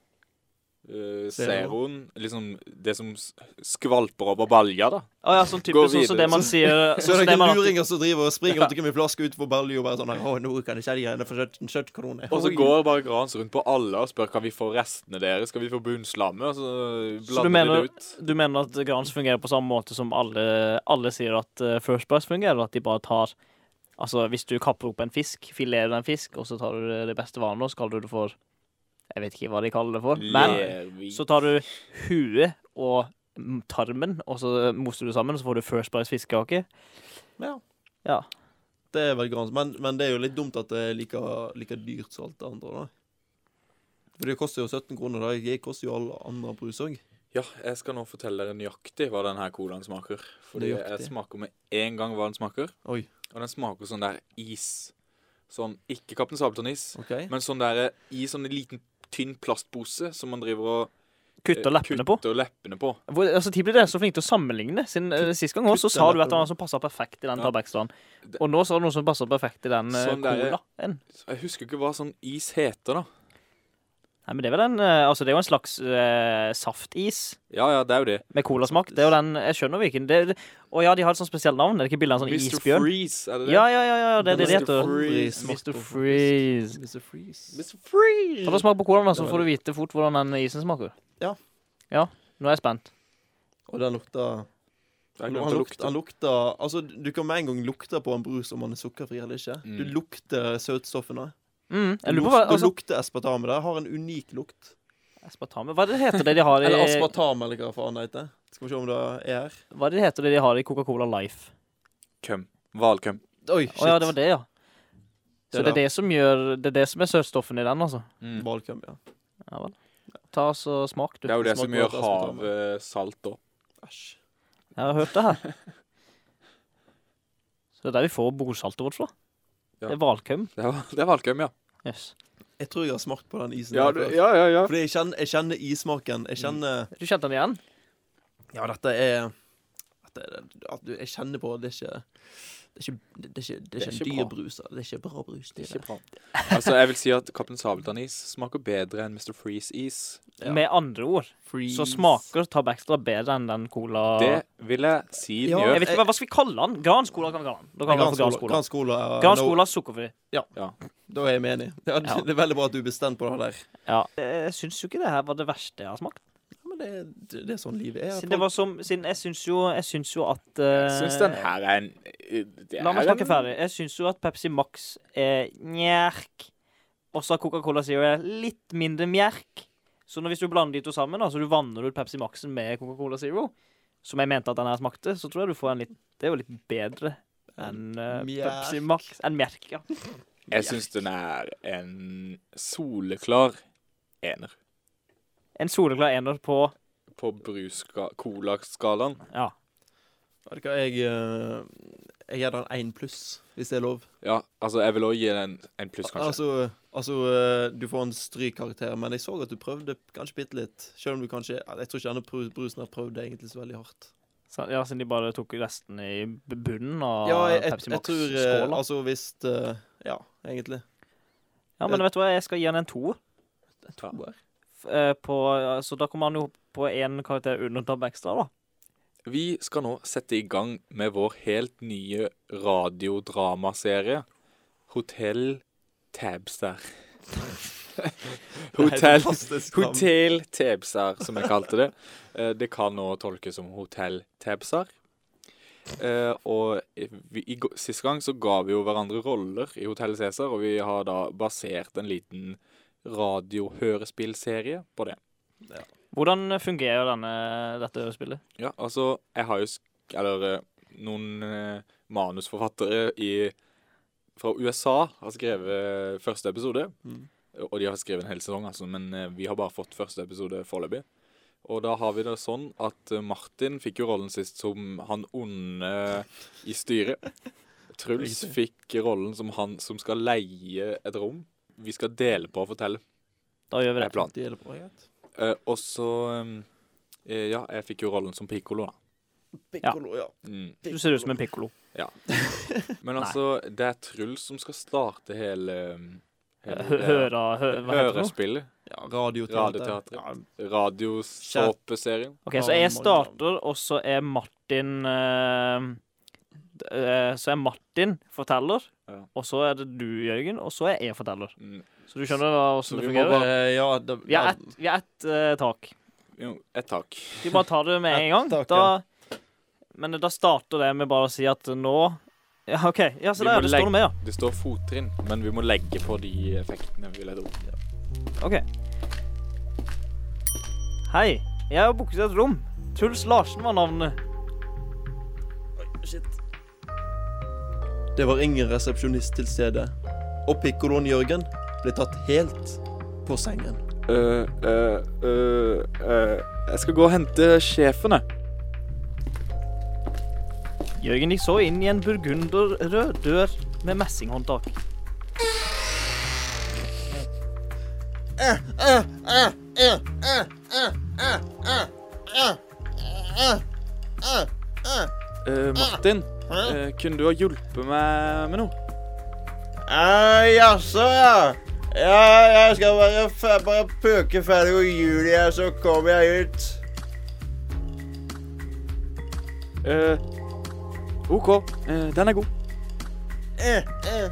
[SPEAKER 3] Uh, zeroen. Liksom det som s- skvalper over balja, da.
[SPEAKER 2] Å ja, sånn type
[SPEAKER 3] Gå
[SPEAKER 2] sånn som
[SPEAKER 3] videre.
[SPEAKER 2] det man sier
[SPEAKER 1] *laughs* Så det er
[SPEAKER 2] det man
[SPEAKER 1] ikke
[SPEAKER 2] alltid-
[SPEAKER 1] luringer som driver og springer
[SPEAKER 2] Ja.
[SPEAKER 1] rundt omkring med flasker utenfor Berlin og bare sånn Å, nå kan jeg selge denne for 17 17 kroner.
[SPEAKER 3] Og så
[SPEAKER 1] Oi.
[SPEAKER 3] går bare Grans rundt på alle og spør kan vi få restene deres. Skal vi få bunnslammet? Og så
[SPEAKER 2] Så du
[SPEAKER 3] blander de
[SPEAKER 2] mener,
[SPEAKER 3] det ut.
[SPEAKER 2] du mener at Grans fungerer på samme måte som alle, alle sier at eh, First Price fungerer? At de bare tar Altså, hvis du kapper opp en fisk, filerer en fisk, og så tar du det- det beste vannet, og så kaller du det for Jeg vet ikke hva de kaller det for, men
[SPEAKER 3] Lervik.
[SPEAKER 2] så tar du huet og mm, tarmen, og så moser du sammen, og så får du First Price fiskekake.
[SPEAKER 1] Ja.
[SPEAKER 2] Ja.
[SPEAKER 1] Det er vel grans, men, men det er jo litt dumt at det er like, like dyrt som alt det andre. da. For det koster jo 17 kroner. da. Jeg koster jo alle andre brus òg.
[SPEAKER 3] Ja, jeg skal nå fortelle dere nøyaktig hva denne colaen smaker. Fordi
[SPEAKER 1] Nøyaktig.
[SPEAKER 3] jeg smaker med en gang hva den smaker.
[SPEAKER 1] Oi.
[SPEAKER 3] Og den smaker sånn der is. Sånn, ikke Kaptein Sabeltann-is,
[SPEAKER 1] OK?
[SPEAKER 3] men sånn der i sånn en liten, tynn plastpose som man driver og eh,
[SPEAKER 2] Kutter leppene på.
[SPEAKER 3] kutter leppene på.
[SPEAKER 2] Hvor, altså, Tid blir dere så flinke til å sammenligne. Siden eh, Sist gang også,
[SPEAKER 1] kutter
[SPEAKER 2] så sa du at
[SPEAKER 1] leppene.
[SPEAKER 2] det var noen som passa perfekt i den
[SPEAKER 3] Ja.
[SPEAKER 2] Tabaxland.
[SPEAKER 3] Det-
[SPEAKER 2] Og nå sa du noen som passa perfekt i den eh,
[SPEAKER 3] Sånn der-
[SPEAKER 2] colaen.
[SPEAKER 3] Så Jeg husker ikke hva sånn is heter, da.
[SPEAKER 2] Nei, men det er vel en eh, Altså, det er jo en slags eh, saftis
[SPEAKER 3] Ja, ja, det er jo det.
[SPEAKER 2] med colasmak. Det er jo den Jeg skjønner hvilken. Det, det, og ja, de har et sånt spesielt navn. Er det ikke bilde av en sånn
[SPEAKER 3] Mr.
[SPEAKER 2] isbjørn?
[SPEAKER 3] Freeze, er det det?
[SPEAKER 2] Ja, ja, ja, ja, det er det det
[SPEAKER 3] Mr.
[SPEAKER 2] heter.
[SPEAKER 3] Freeze.
[SPEAKER 2] Mr. Freeze.
[SPEAKER 1] Mr. Freeze.
[SPEAKER 3] Mr. Freeze!
[SPEAKER 2] Ta og Smak på colaen, da,
[SPEAKER 1] Det
[SPEAKER 2] så
[SPEAKER 1] var
[SPEAKER 2] får du vite fort hvordan den isen smaker.
[SPEAKER 1] Ja.
[SPEAKER 2] Ja, nå er jeg spent.
[SPEAKER 1] Og den lukter
[SPEAKER 3] Jeg
[SPEAKER 1] han,
[SPEAKER 3] glemte å
[SPEAKER 1] lukter,
[SPEAKER 3] lukte.
[SPEAKER 1] han lukter Altså, du kan med en gang lukte på en brus om han er sukkerfri eller ikke.
[SPEAKER 3] Mm.
[SPEAKER 1] Du lukter søtstoffene.
[SPEAKER 2] Mm,
[SPEAKER 1] Du
[SPEAKER 2] jeg lurer på hva
[SPEAKER 1] lukter,
[SPEAKER 2] altså,
[SPEAKER 1] lukter aspartame. Det har en unik lukt.
[SPEAKER 2] Aspartame Hva er det heter det de har i
[SPEAKER 1] Eller aspartame, eller hva faen det heter. Skal vi se om det er her.
[SPEAKER 2] Hva er det heter det de har i Coca-Cola Life?
[SPEAKER 3] Køm. Hvalkøm.
[SPEAKER 1] Oi, shit.
[SPEAKER 2] Å ja, det var det, ja.
[SPEAKER 1] Det
[SPEAKER 2] Så det er det som gjør Det er det som er søtstoffene i den, altså.
[SPEAKER 3] Mm.
[SPEAKER 1] Valkøm, ja.
[SPEAKER 2] Ja vel. Ta og så smak, du.
[SPEAKER 3] Det er jo det
[SPEAKER 1] smaker
[SPEAKER 3] som
[SPEAKER 1] godt,
[SPEAKER 3] gjør
[SPEAKER 1] aspartame.
[SPEAKER 3] havet salt, da.
[SPEAKER 1] Æsj.
[SPEAKER 2] Jeg har hørt det her. Så det er der vi får bordsaltet vårt fra.
[SPEAKER 3] Ja.
[SPEAKER 2] Det er hvalkøm.
[SPEAKER 3] Det er- Det er hvalkøm, ja.
[SPEAKER 2] Yes.
[SPEAKER 1] Jeg tror jeg har smakt på den isen.
[SPEAKER 3] Ja,
[SPEAKER 1] her
[SPEAKER 3] du,
[SPEAKER 1] før.
[SPEAKER 3] ja, ja, ja.
[SPEAKER 1] Fordi jeg kjenner, jeg kjenner issmaken. Jeg kjenner
[SPEAKER 2] Du kjente den igjen?
[SPEAKER 1] Ja, dette er, dette er at du- Jeg kjenner på det er ikke Det er ikke, det er ikke, det er
[SPEAKER 3] Det er
[SPEAKER 1] ikke en
[SPEAKER 3] ikke
[SPEAKER 1] dyr
[SPEAKER 3] bra.
[SPEAKER 1] brus. da. Det er ikke bra brus.
[SPEAKER 3] Det
[SPEAKER 1] Det
[SPEAKER 3] er
[SPEAKER 1] der.
[SPEAKER 3] ikke bra. Altså, jeg vil si at Kaptein Sabeltann-is smaker bedre enn Mr. Freeze-is.
[SPEAKER 1] Ja.
[SPEAKER 2] Med andre ord så
[SPEAKER 1] Freeze.
[SPEAKER 2] smaker Tab Extra bedre enn den cola
[SPEAKER 3] Det vil jeg si den
[SPEAKER 1] Ja,
[SPEAKER 2] Jeg
[SPEAKER 3] gjør.
[SPEAKER 2] vet ikke hva, hva skal vi kalle den? Grans cola kan vi kalle den. Da kan vi kalle den for Grans
[SPEAKER 1] Grans
[SPEAKER 2] cola.
[SPEAKER 1] cola. ja,
[SPEAKER 2] Grans
[SPEAKER 1] nå-
[SPEAKER 2] cola sukkerfri.
[SPEAKER 1] Da er jeg *laughs* med enig. Ja, det,
[SPEAKER 2] Ja.
[SPEAKER 1] det er veldig bra at du er bestemt på det der.
[SPEAKER 2] Ja. Jeg Eh, syns jo ikke det her var det verste jeg har smakt.
[SPEAKER 1] Ja, Men det, det, det er sånn livet er.
[SPEAKER 2] Siden det var som, siden jeg syns jo, jeg syns jo at eh,
[SPEAKER 3] Jeg syns den her er en eh, det
[SPEAKER 2] La meg
[SPEAKER 3] her er
[SPEAKER 2] snakke
[SPEAKER 3] en-
[SPEAKER 2] ferdig. Jeg syns jo at Pepsi Max er njerk. Og så har Coca-Cola Zero er litt mindre mjerk. Så når, hvis du blander de to sammen, da, så du vanner ut Pepsi Maxen med Coca-Cola Zero, som jeg mente at den her smakte, så tror jeg du får en litt Det er jo litt bedre enn eh,
[SPEAKER 1] Mjerk.
[SPEAKER 2] Pepsi Max. Enn mjerk, ja.
[SPEAKER 3] Jeg syns den er en soleklar ener
[SPEAKER 2] En soleklar ener på
[SPEAKER 3] på brus-cola-skalaen.
[SPEAKER 2] Ja.
[SPEAKER 1] Vet du hva, jeg, eh, jeg gir den én pluss, hvis det er lov.
[SPEAKER 3] Ja, altså, jeg vil òg gi den en pluss, kanskje.
[SPEAKER 1] Altså, altså, eh, du får en strykkarakter, men jeg så at du prøvde kanskje bitte litt. Selv om du kanskje Jeg tror ikke denne bru- brusen har prøvd det egentlig så veldig hardt.
[SPEAKER 2] Så, ja, siden de bare tok resten i b- bunnen av
[SPEAKER 1] Ja, jeg, jeg,
[SPEAKER 2] Ah, Pepsi
[SPEAKER 1] jeg tror eh,
[SPEAKER 2] Max-skåla.
[SPEAKER 1] Altså hvis eh, Ja, *laughs* egentlig.
[SPEAKER 2] Ja,
[SPEAKER 3] Eh.
[SPEAKER 2] men vet du hva, jeg skal gi den en toer.
[SPEAKER 3] Ja.
[SPEAKER 2] F- eh, på, så da kommer han jo på én karakter under Tab Extra, da.
[SPEAKER 3] Vi skal nå sette i gang med vår helt nye radiodramaserie, Hotell Tabster.
[SPEAKER 1] Det er helt
[SPEAKER 3] Hotell
[SPEAKER 1] fantastisk navn.
[SPEAKER 3] Hotell Tebsar, som jeg kalte det. Eh, Det kan nå tolkes som Hotell Tebsar. Eh, og vi, i, gå- Sist gang så ga vi jo hverandre roller i Hotell Cæsar, og vi har da basert en liten radiohørespillserie på det.
[SPEAKER 2] Hvordan fungerer denne, dette spillet?
[SPEAKER 3] Ja, altså, jeg har jo sk eller, eh, noen eh, manusforfattere i, fra USA har skrevet første episode.
[SPEAKER 1] Mm.
[SPEAKER 3] Og de har skrevet en hel sesong, altså, men eh, vi har bare fått første episode foreløpig. Og da har vi det sånn at eh, Martin fikk jo rollen sist som han onde i
[SPEAKER 1] *laughs*
[SPEAKER 3] styret. Truls
[SPEAKER 1] Riktig.
[SPEAKER 3] fikk rollen som han som skal leie et rom. Vi skal dele på å fortelle,
[SPEAKER 2] Da gjør vi
[SPEAKER 3] er
[SPEAKER 2] det.
[SPEAKER 3] planen.
[SPEAKER 1] Det er det bra, greit.
[SPEAKER 3] Eh, og så eh, Ja, jeg fikk jo rollen som pikkolo, da.
[SPEAKER 1] Piccolo, ja.
[SPEAKER 3] Mm.
[SPEAKER 2] Du ser ut som en pikkolo.
[SPEAKER 3] Men
[SPEAKER 2] Nei.
[SPEAKER 3] altså, det er Truls som skal starte hele, um, hele
[SPEAKER 2] Høra hø, Hva heter det? nå?
[SPEAKER 3] Hørespillet.
[SPEAKER 1] ja radioteater.
[SPEAKER 3] Radioteater.
[SPEAKER 1] Ja,
[SPEAKER 3] Radiosåpeserien.
[SPEAKER 2] OK, så jeg starter, og så er Martin eh, d- eh, Så er Martin forteller,
[SPEAKER 3] Ja.
[SPEAKER 2] og så er det du, Jørgen, og så er jeg forteller.
[SPEAKER 3] Mm.
[SPEAKER 2] Så du skjønner da
[SPEAKER 3] Så
[SPEAKER 2] åssen det
[SPEAKER 3] vi må
[SPEAKER 2] fungerer?
[SPEAKER 3] bare-
[SPEAKER 1] Eh, ja, da,
[SPEAKER 2] Vi er
[SPEAKER 1] da-
[SPEAKER 2] ett vi er ett, eh, tak.
[SPEAKER 3] Jo, ett tak.
[SPEAKER 2] Vi bare tar det med en gang.
[SPEAKER 1] Ett tak,
[SPEAKER 2] Da, men da starter det med bare å si at nå Ja, OK. Ja,
[SPEAKER 3] Vi
[SPEAKER 2] så der,
[SPEAKER 3] må
[SPEAKER 2] det står
[SPEAKER 3] legge-
[SPEAKER 2] noe mer, ja.
[SPEAKER 3] Det står fottrinn, men vi må legge på de effektene vi leder opp.
[SPEAKER 2] Ok. Hei, jeg har booket et rom. Truls Larsen var navnet.
[SPEAKER 1] Det var ingen resepsjonist til stede, og pikkoloen Jørgen ble tatt helt på sengen.
[SPEAKER 3] jeg skal gå og hente sjefen, jeg.
[SPEAKER 2] Jørgen gikk så inn i en burgunderrød dør med messinghåndtak.
[SPEAKER 3] Martin, eh, kunne du ha hjulpet meg med noe?
[SPEAKER 4] Eh, Jaså, ja. Ja, jeg skal bare, fe- bare puke ferdig og Julie, så kommer jeg ut.
[SPEAKER 3] Eh, OK, eh, den er god.
[SPEAKER 4] Eh, eh.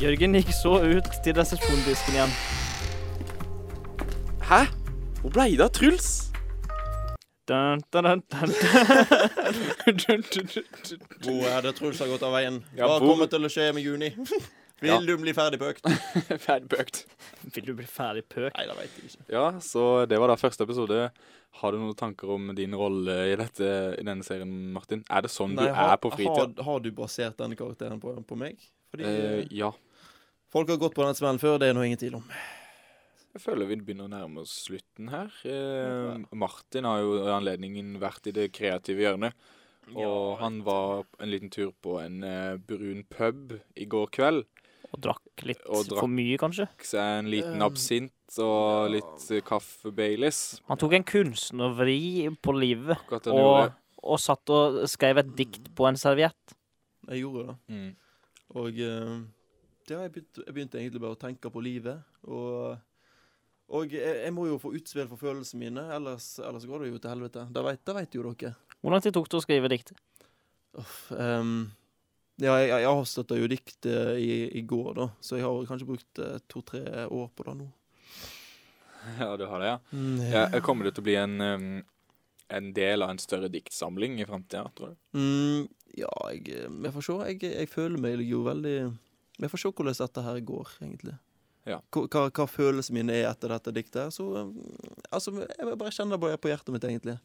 [SPEAKER 2] Jørgen gikk så ut til resepsjondisken igjen.
[SPEAKER 3] Hæ? Hvor blei det av Truls? *laughs*
[SPEAKER 2] Dun, dun, dun, dun.
[SPEAKER 1] Hvor er det Truls har gått av veien?
[SPEAKER 3] Ja,
[SPEAKER 1] Hva
[SPEAKER 3] hvor-
[SPEAKER 1] kommer til å skje med juni? *laughs* Vil
[SPEAKER 3] Ja.
[SPEAKER 1] du bli ferdig på økt?
[SPEAKER 3] Ferdigbøkt.
[SPEAKER 2] Vil du bli ferdig pøk?
[SPEAKER 1] Nei, det veit jeg ikke.
[SPEAKER 3] Ja, så det var da første episode. Har du noen tanker om din rolle i, dette, i denne serien, Martin? Er det sånn
[SPEAKER 1] Nei,
[SPEAKER 3] du
[SPEAKER 1] har-
[SPEAKER 3] er på fritida?
[SPEAKER 1] Har, har du basert denne karakteren på, på meg? Fordi
[SPEAKER 3] Eh,
[SPEAKER 1] eh,
[SPEAKER 3] ja.
[SPEAKER 1] folk har gått på den smellen før, det er nå ingen tvil om.
[SPEAKER 3] Jeg føler vi begynner å nærme oss slutten her. Eh, Martin har jo i anledningen vært i det kreative hjørnet. Og han var en liten tur på en eh, brun pub i går kveld.
[SPEAKER 2] Og drakk litt
[SPEAKER 3] Og drakk.
[SPEAKER 2] for mye, kanskje?
[SPEAKER 3] Fikk seg en liten
[SPEAKER 1] Eh,
[SPEAKER 3] absint og litt eh, kaffe Baileys.
[SPEAKER 2] Han tok en kunstnervri på livet.
[SPEAKER 3] Akkurat han
[SPEAKER 2] Og,
[SPEAKER 3] gjorde.
[SPEAKER 2] og satt og skrev et dikt på en serviett.
[SPEAKER 1] Jeg gjorde det.
[SPEAKER 3] Mm. *laughs*
[SPEAKER 1] Og eh, det har jeg begynt, jeg begynte egentlig bare å tenke på livet. Og, og jeg, jeg må jo få utspill for følelsene mine, ellers, ellers går det jo til helvete. Det vet, det vet jo dere.
[SPEAKER 2] Hvor lang tid tok det å skrive diktet?
[SPEAKER 1] Uff, ehm, ja, jeg, jeg avslutta jo diktet i, i går, da, så jeg har kanskje brukt eh, to-tre år på det nå.
[SPEAKER 3] Ja, du har det, ja. Mm, ja
[SPEAKER 1] Eh,
[SPEAKER 3] jeg kommer det til å bli en, um, en del av en større diktsamling i framtida, tror du?
[SPEAKER 1] Mm, ja, jeg, jeg får se. Jeg, jeg føler meg jo veldig Jeg får se hvordan dette her går, egentlig.
[SPEAKER 3] Ja.
[SPEAKER 1] Hva, hva, hva følelsene mine er etter dette diktet. her, Så eh, altså, jeg bare kjenner det bare på hjertet mitt, egentlig.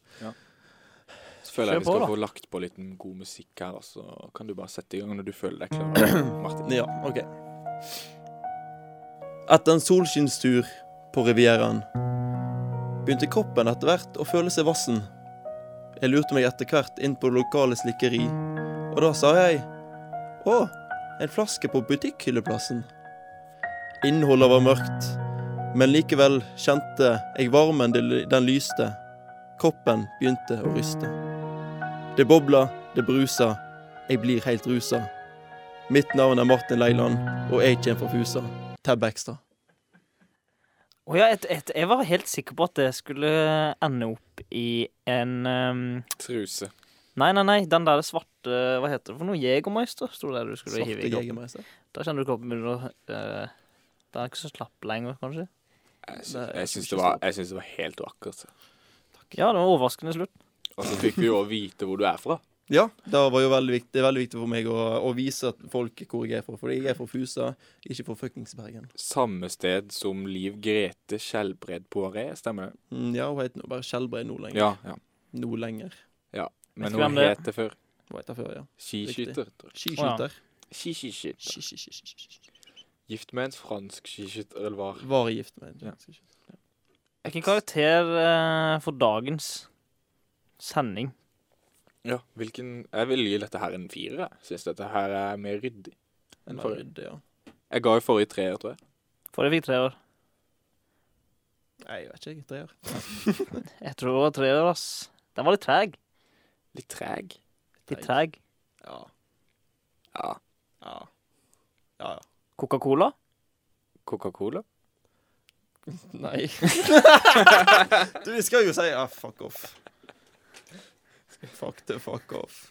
[SPEAKER 3] Så føler
[SPEAKER 2] Kjør
[SPEAKER 3] jeg vi
[SPEAKER 2] på,
[SPEAKER 3] skal
[SPEAKER 2] da.
[SPEAKER 3] få lagt på litt god musikk her, og så kan du bare sette i gang når du føler
[SPEAKER 2] *clears throat*
[SPEAKER 3] deg klar. Martin.
[SPEAKER 1] Ja, ok. Etter en solskinnstur på Rivieraen begynte kroppen etter hvert å føle seg vassen. Jeg lurte meg etter hvert inn på det lokale slikkeri, og da sa jeg Å, en flaske på butikkylleplassen. Innholdet var mørkt, men likevel kjente jeg varmen det- den lyste. Kroppen begynte å ryste. Det bobla, det brusa, jeg blir helt rusa. Mitt navn er Martin Leiland, og jeg kommer fra Fusa. Tab Extra.
[SPEAKER 2] Å ja, et, et, jeg var helt sikker på at det skulle ende opp i en ehm,
[SPEAKER 3] Truse.
[SPEAKER 2] Nei, nei, nei, den der svarte Hva heter det for noe? Jegermeister, sto det der du skulle hive i kroppen.
[SPEAKER 1] Jegermeister.
[SPEAKER 2] Da kjenner du kroppen begynner å eh, Den er ikke så slapp lenger, kanskje?
[SPEAKER 3] Jeg syns,
[SPEAKER 1] Nei,
[SPEAKER 3] jeg
[SPEAKER 1] jeg
[SPEAKER 3] syns,
[SPEAKER 1] tror
[SPEAKER 3] det,
[SPEAKER 1] ikke
[SPEAKER 3] var, jeg syns det var helt vakkert. altså.
[SPEAKER 2] Ja, det var overraskende slutt.
[SPEAKER 3] Og så fikk vi jo vite hvor du er fra.
[SPEAKER 1] Ja, det var jo veldig viktig, det er veldig viktig for meg å, å vise at folk hvor jeg er fra. Fordi jeg er fra Fusa, ikke fra fuckings Bergen.
[SPEAKER 3] Samme sted som Liv Grete Skjelbred Poiré, stemmer det?
[SPEAKER 1] Mm, Ja, hun heter nå bare Skjelbreid nå lenger.
[SPEAKER 3] Ja. ja.
[SPEAKER 1] Nå lenger.
[SPEAKER 3] Men
[SPEAKER 2] Vet du hvem
[SPEAKER 3] hun
[SPEAKER 2] det er?
[SPEAKER 3] het det før.
[SPEAKER 1] Hva heter det før, ja.
[SPEAKER 3] Skiskytter. tror jeg.
[SPEAKER 1] Skiskyter.
[SPEAKER 3] Skiskytter.
[SPEAKER 1] Ski, ski, ski, ski, ski, ski.
[SPEAKER 3] Gift med en fransk skiskytter, eller var
[SPEAKER 1] Var gift med
[SPEAKER 3] Ja.
[SPEAKER 1] en skiskytter.
[SPEAKER 2] Hvilken karakter eh, for dagens sending?
[SPEAKER 3] Ja, hvilken Jeg vil gi dette her en firer. Jeg syns dette her er mer ryddig enn
[SPEAKER 1] Var
[SPEAKER 3] forrige.
[SPEAKER 1] det, ja.
[SPEAKER 3] Jeg ga jo forrige treer, tror jeg.
[SPEAKER 2] Forrige fikk tre år.
[SPEAKER 1] Nei, jeg vet ikke, jeg. Tre år.
[SPEAKER 2] Jeg tror det var tre år, ass. Den var litt treg.
[SPEAKER 3] Litt treg.
[SPEAKER 2] Litt treg.
[SPEAKER 1] Ja.
[SPEAKER 3] Ja.
[SPEAKER 1] Ja. Ja, ja.
[SPEAKER 2] Coca-Cola?
[SPEAKER 3] Coca-Cola?
[SPEAKER 1] Nei. *laughs* du, vi skal jo si ah, fuck off. Fuck the fuck off.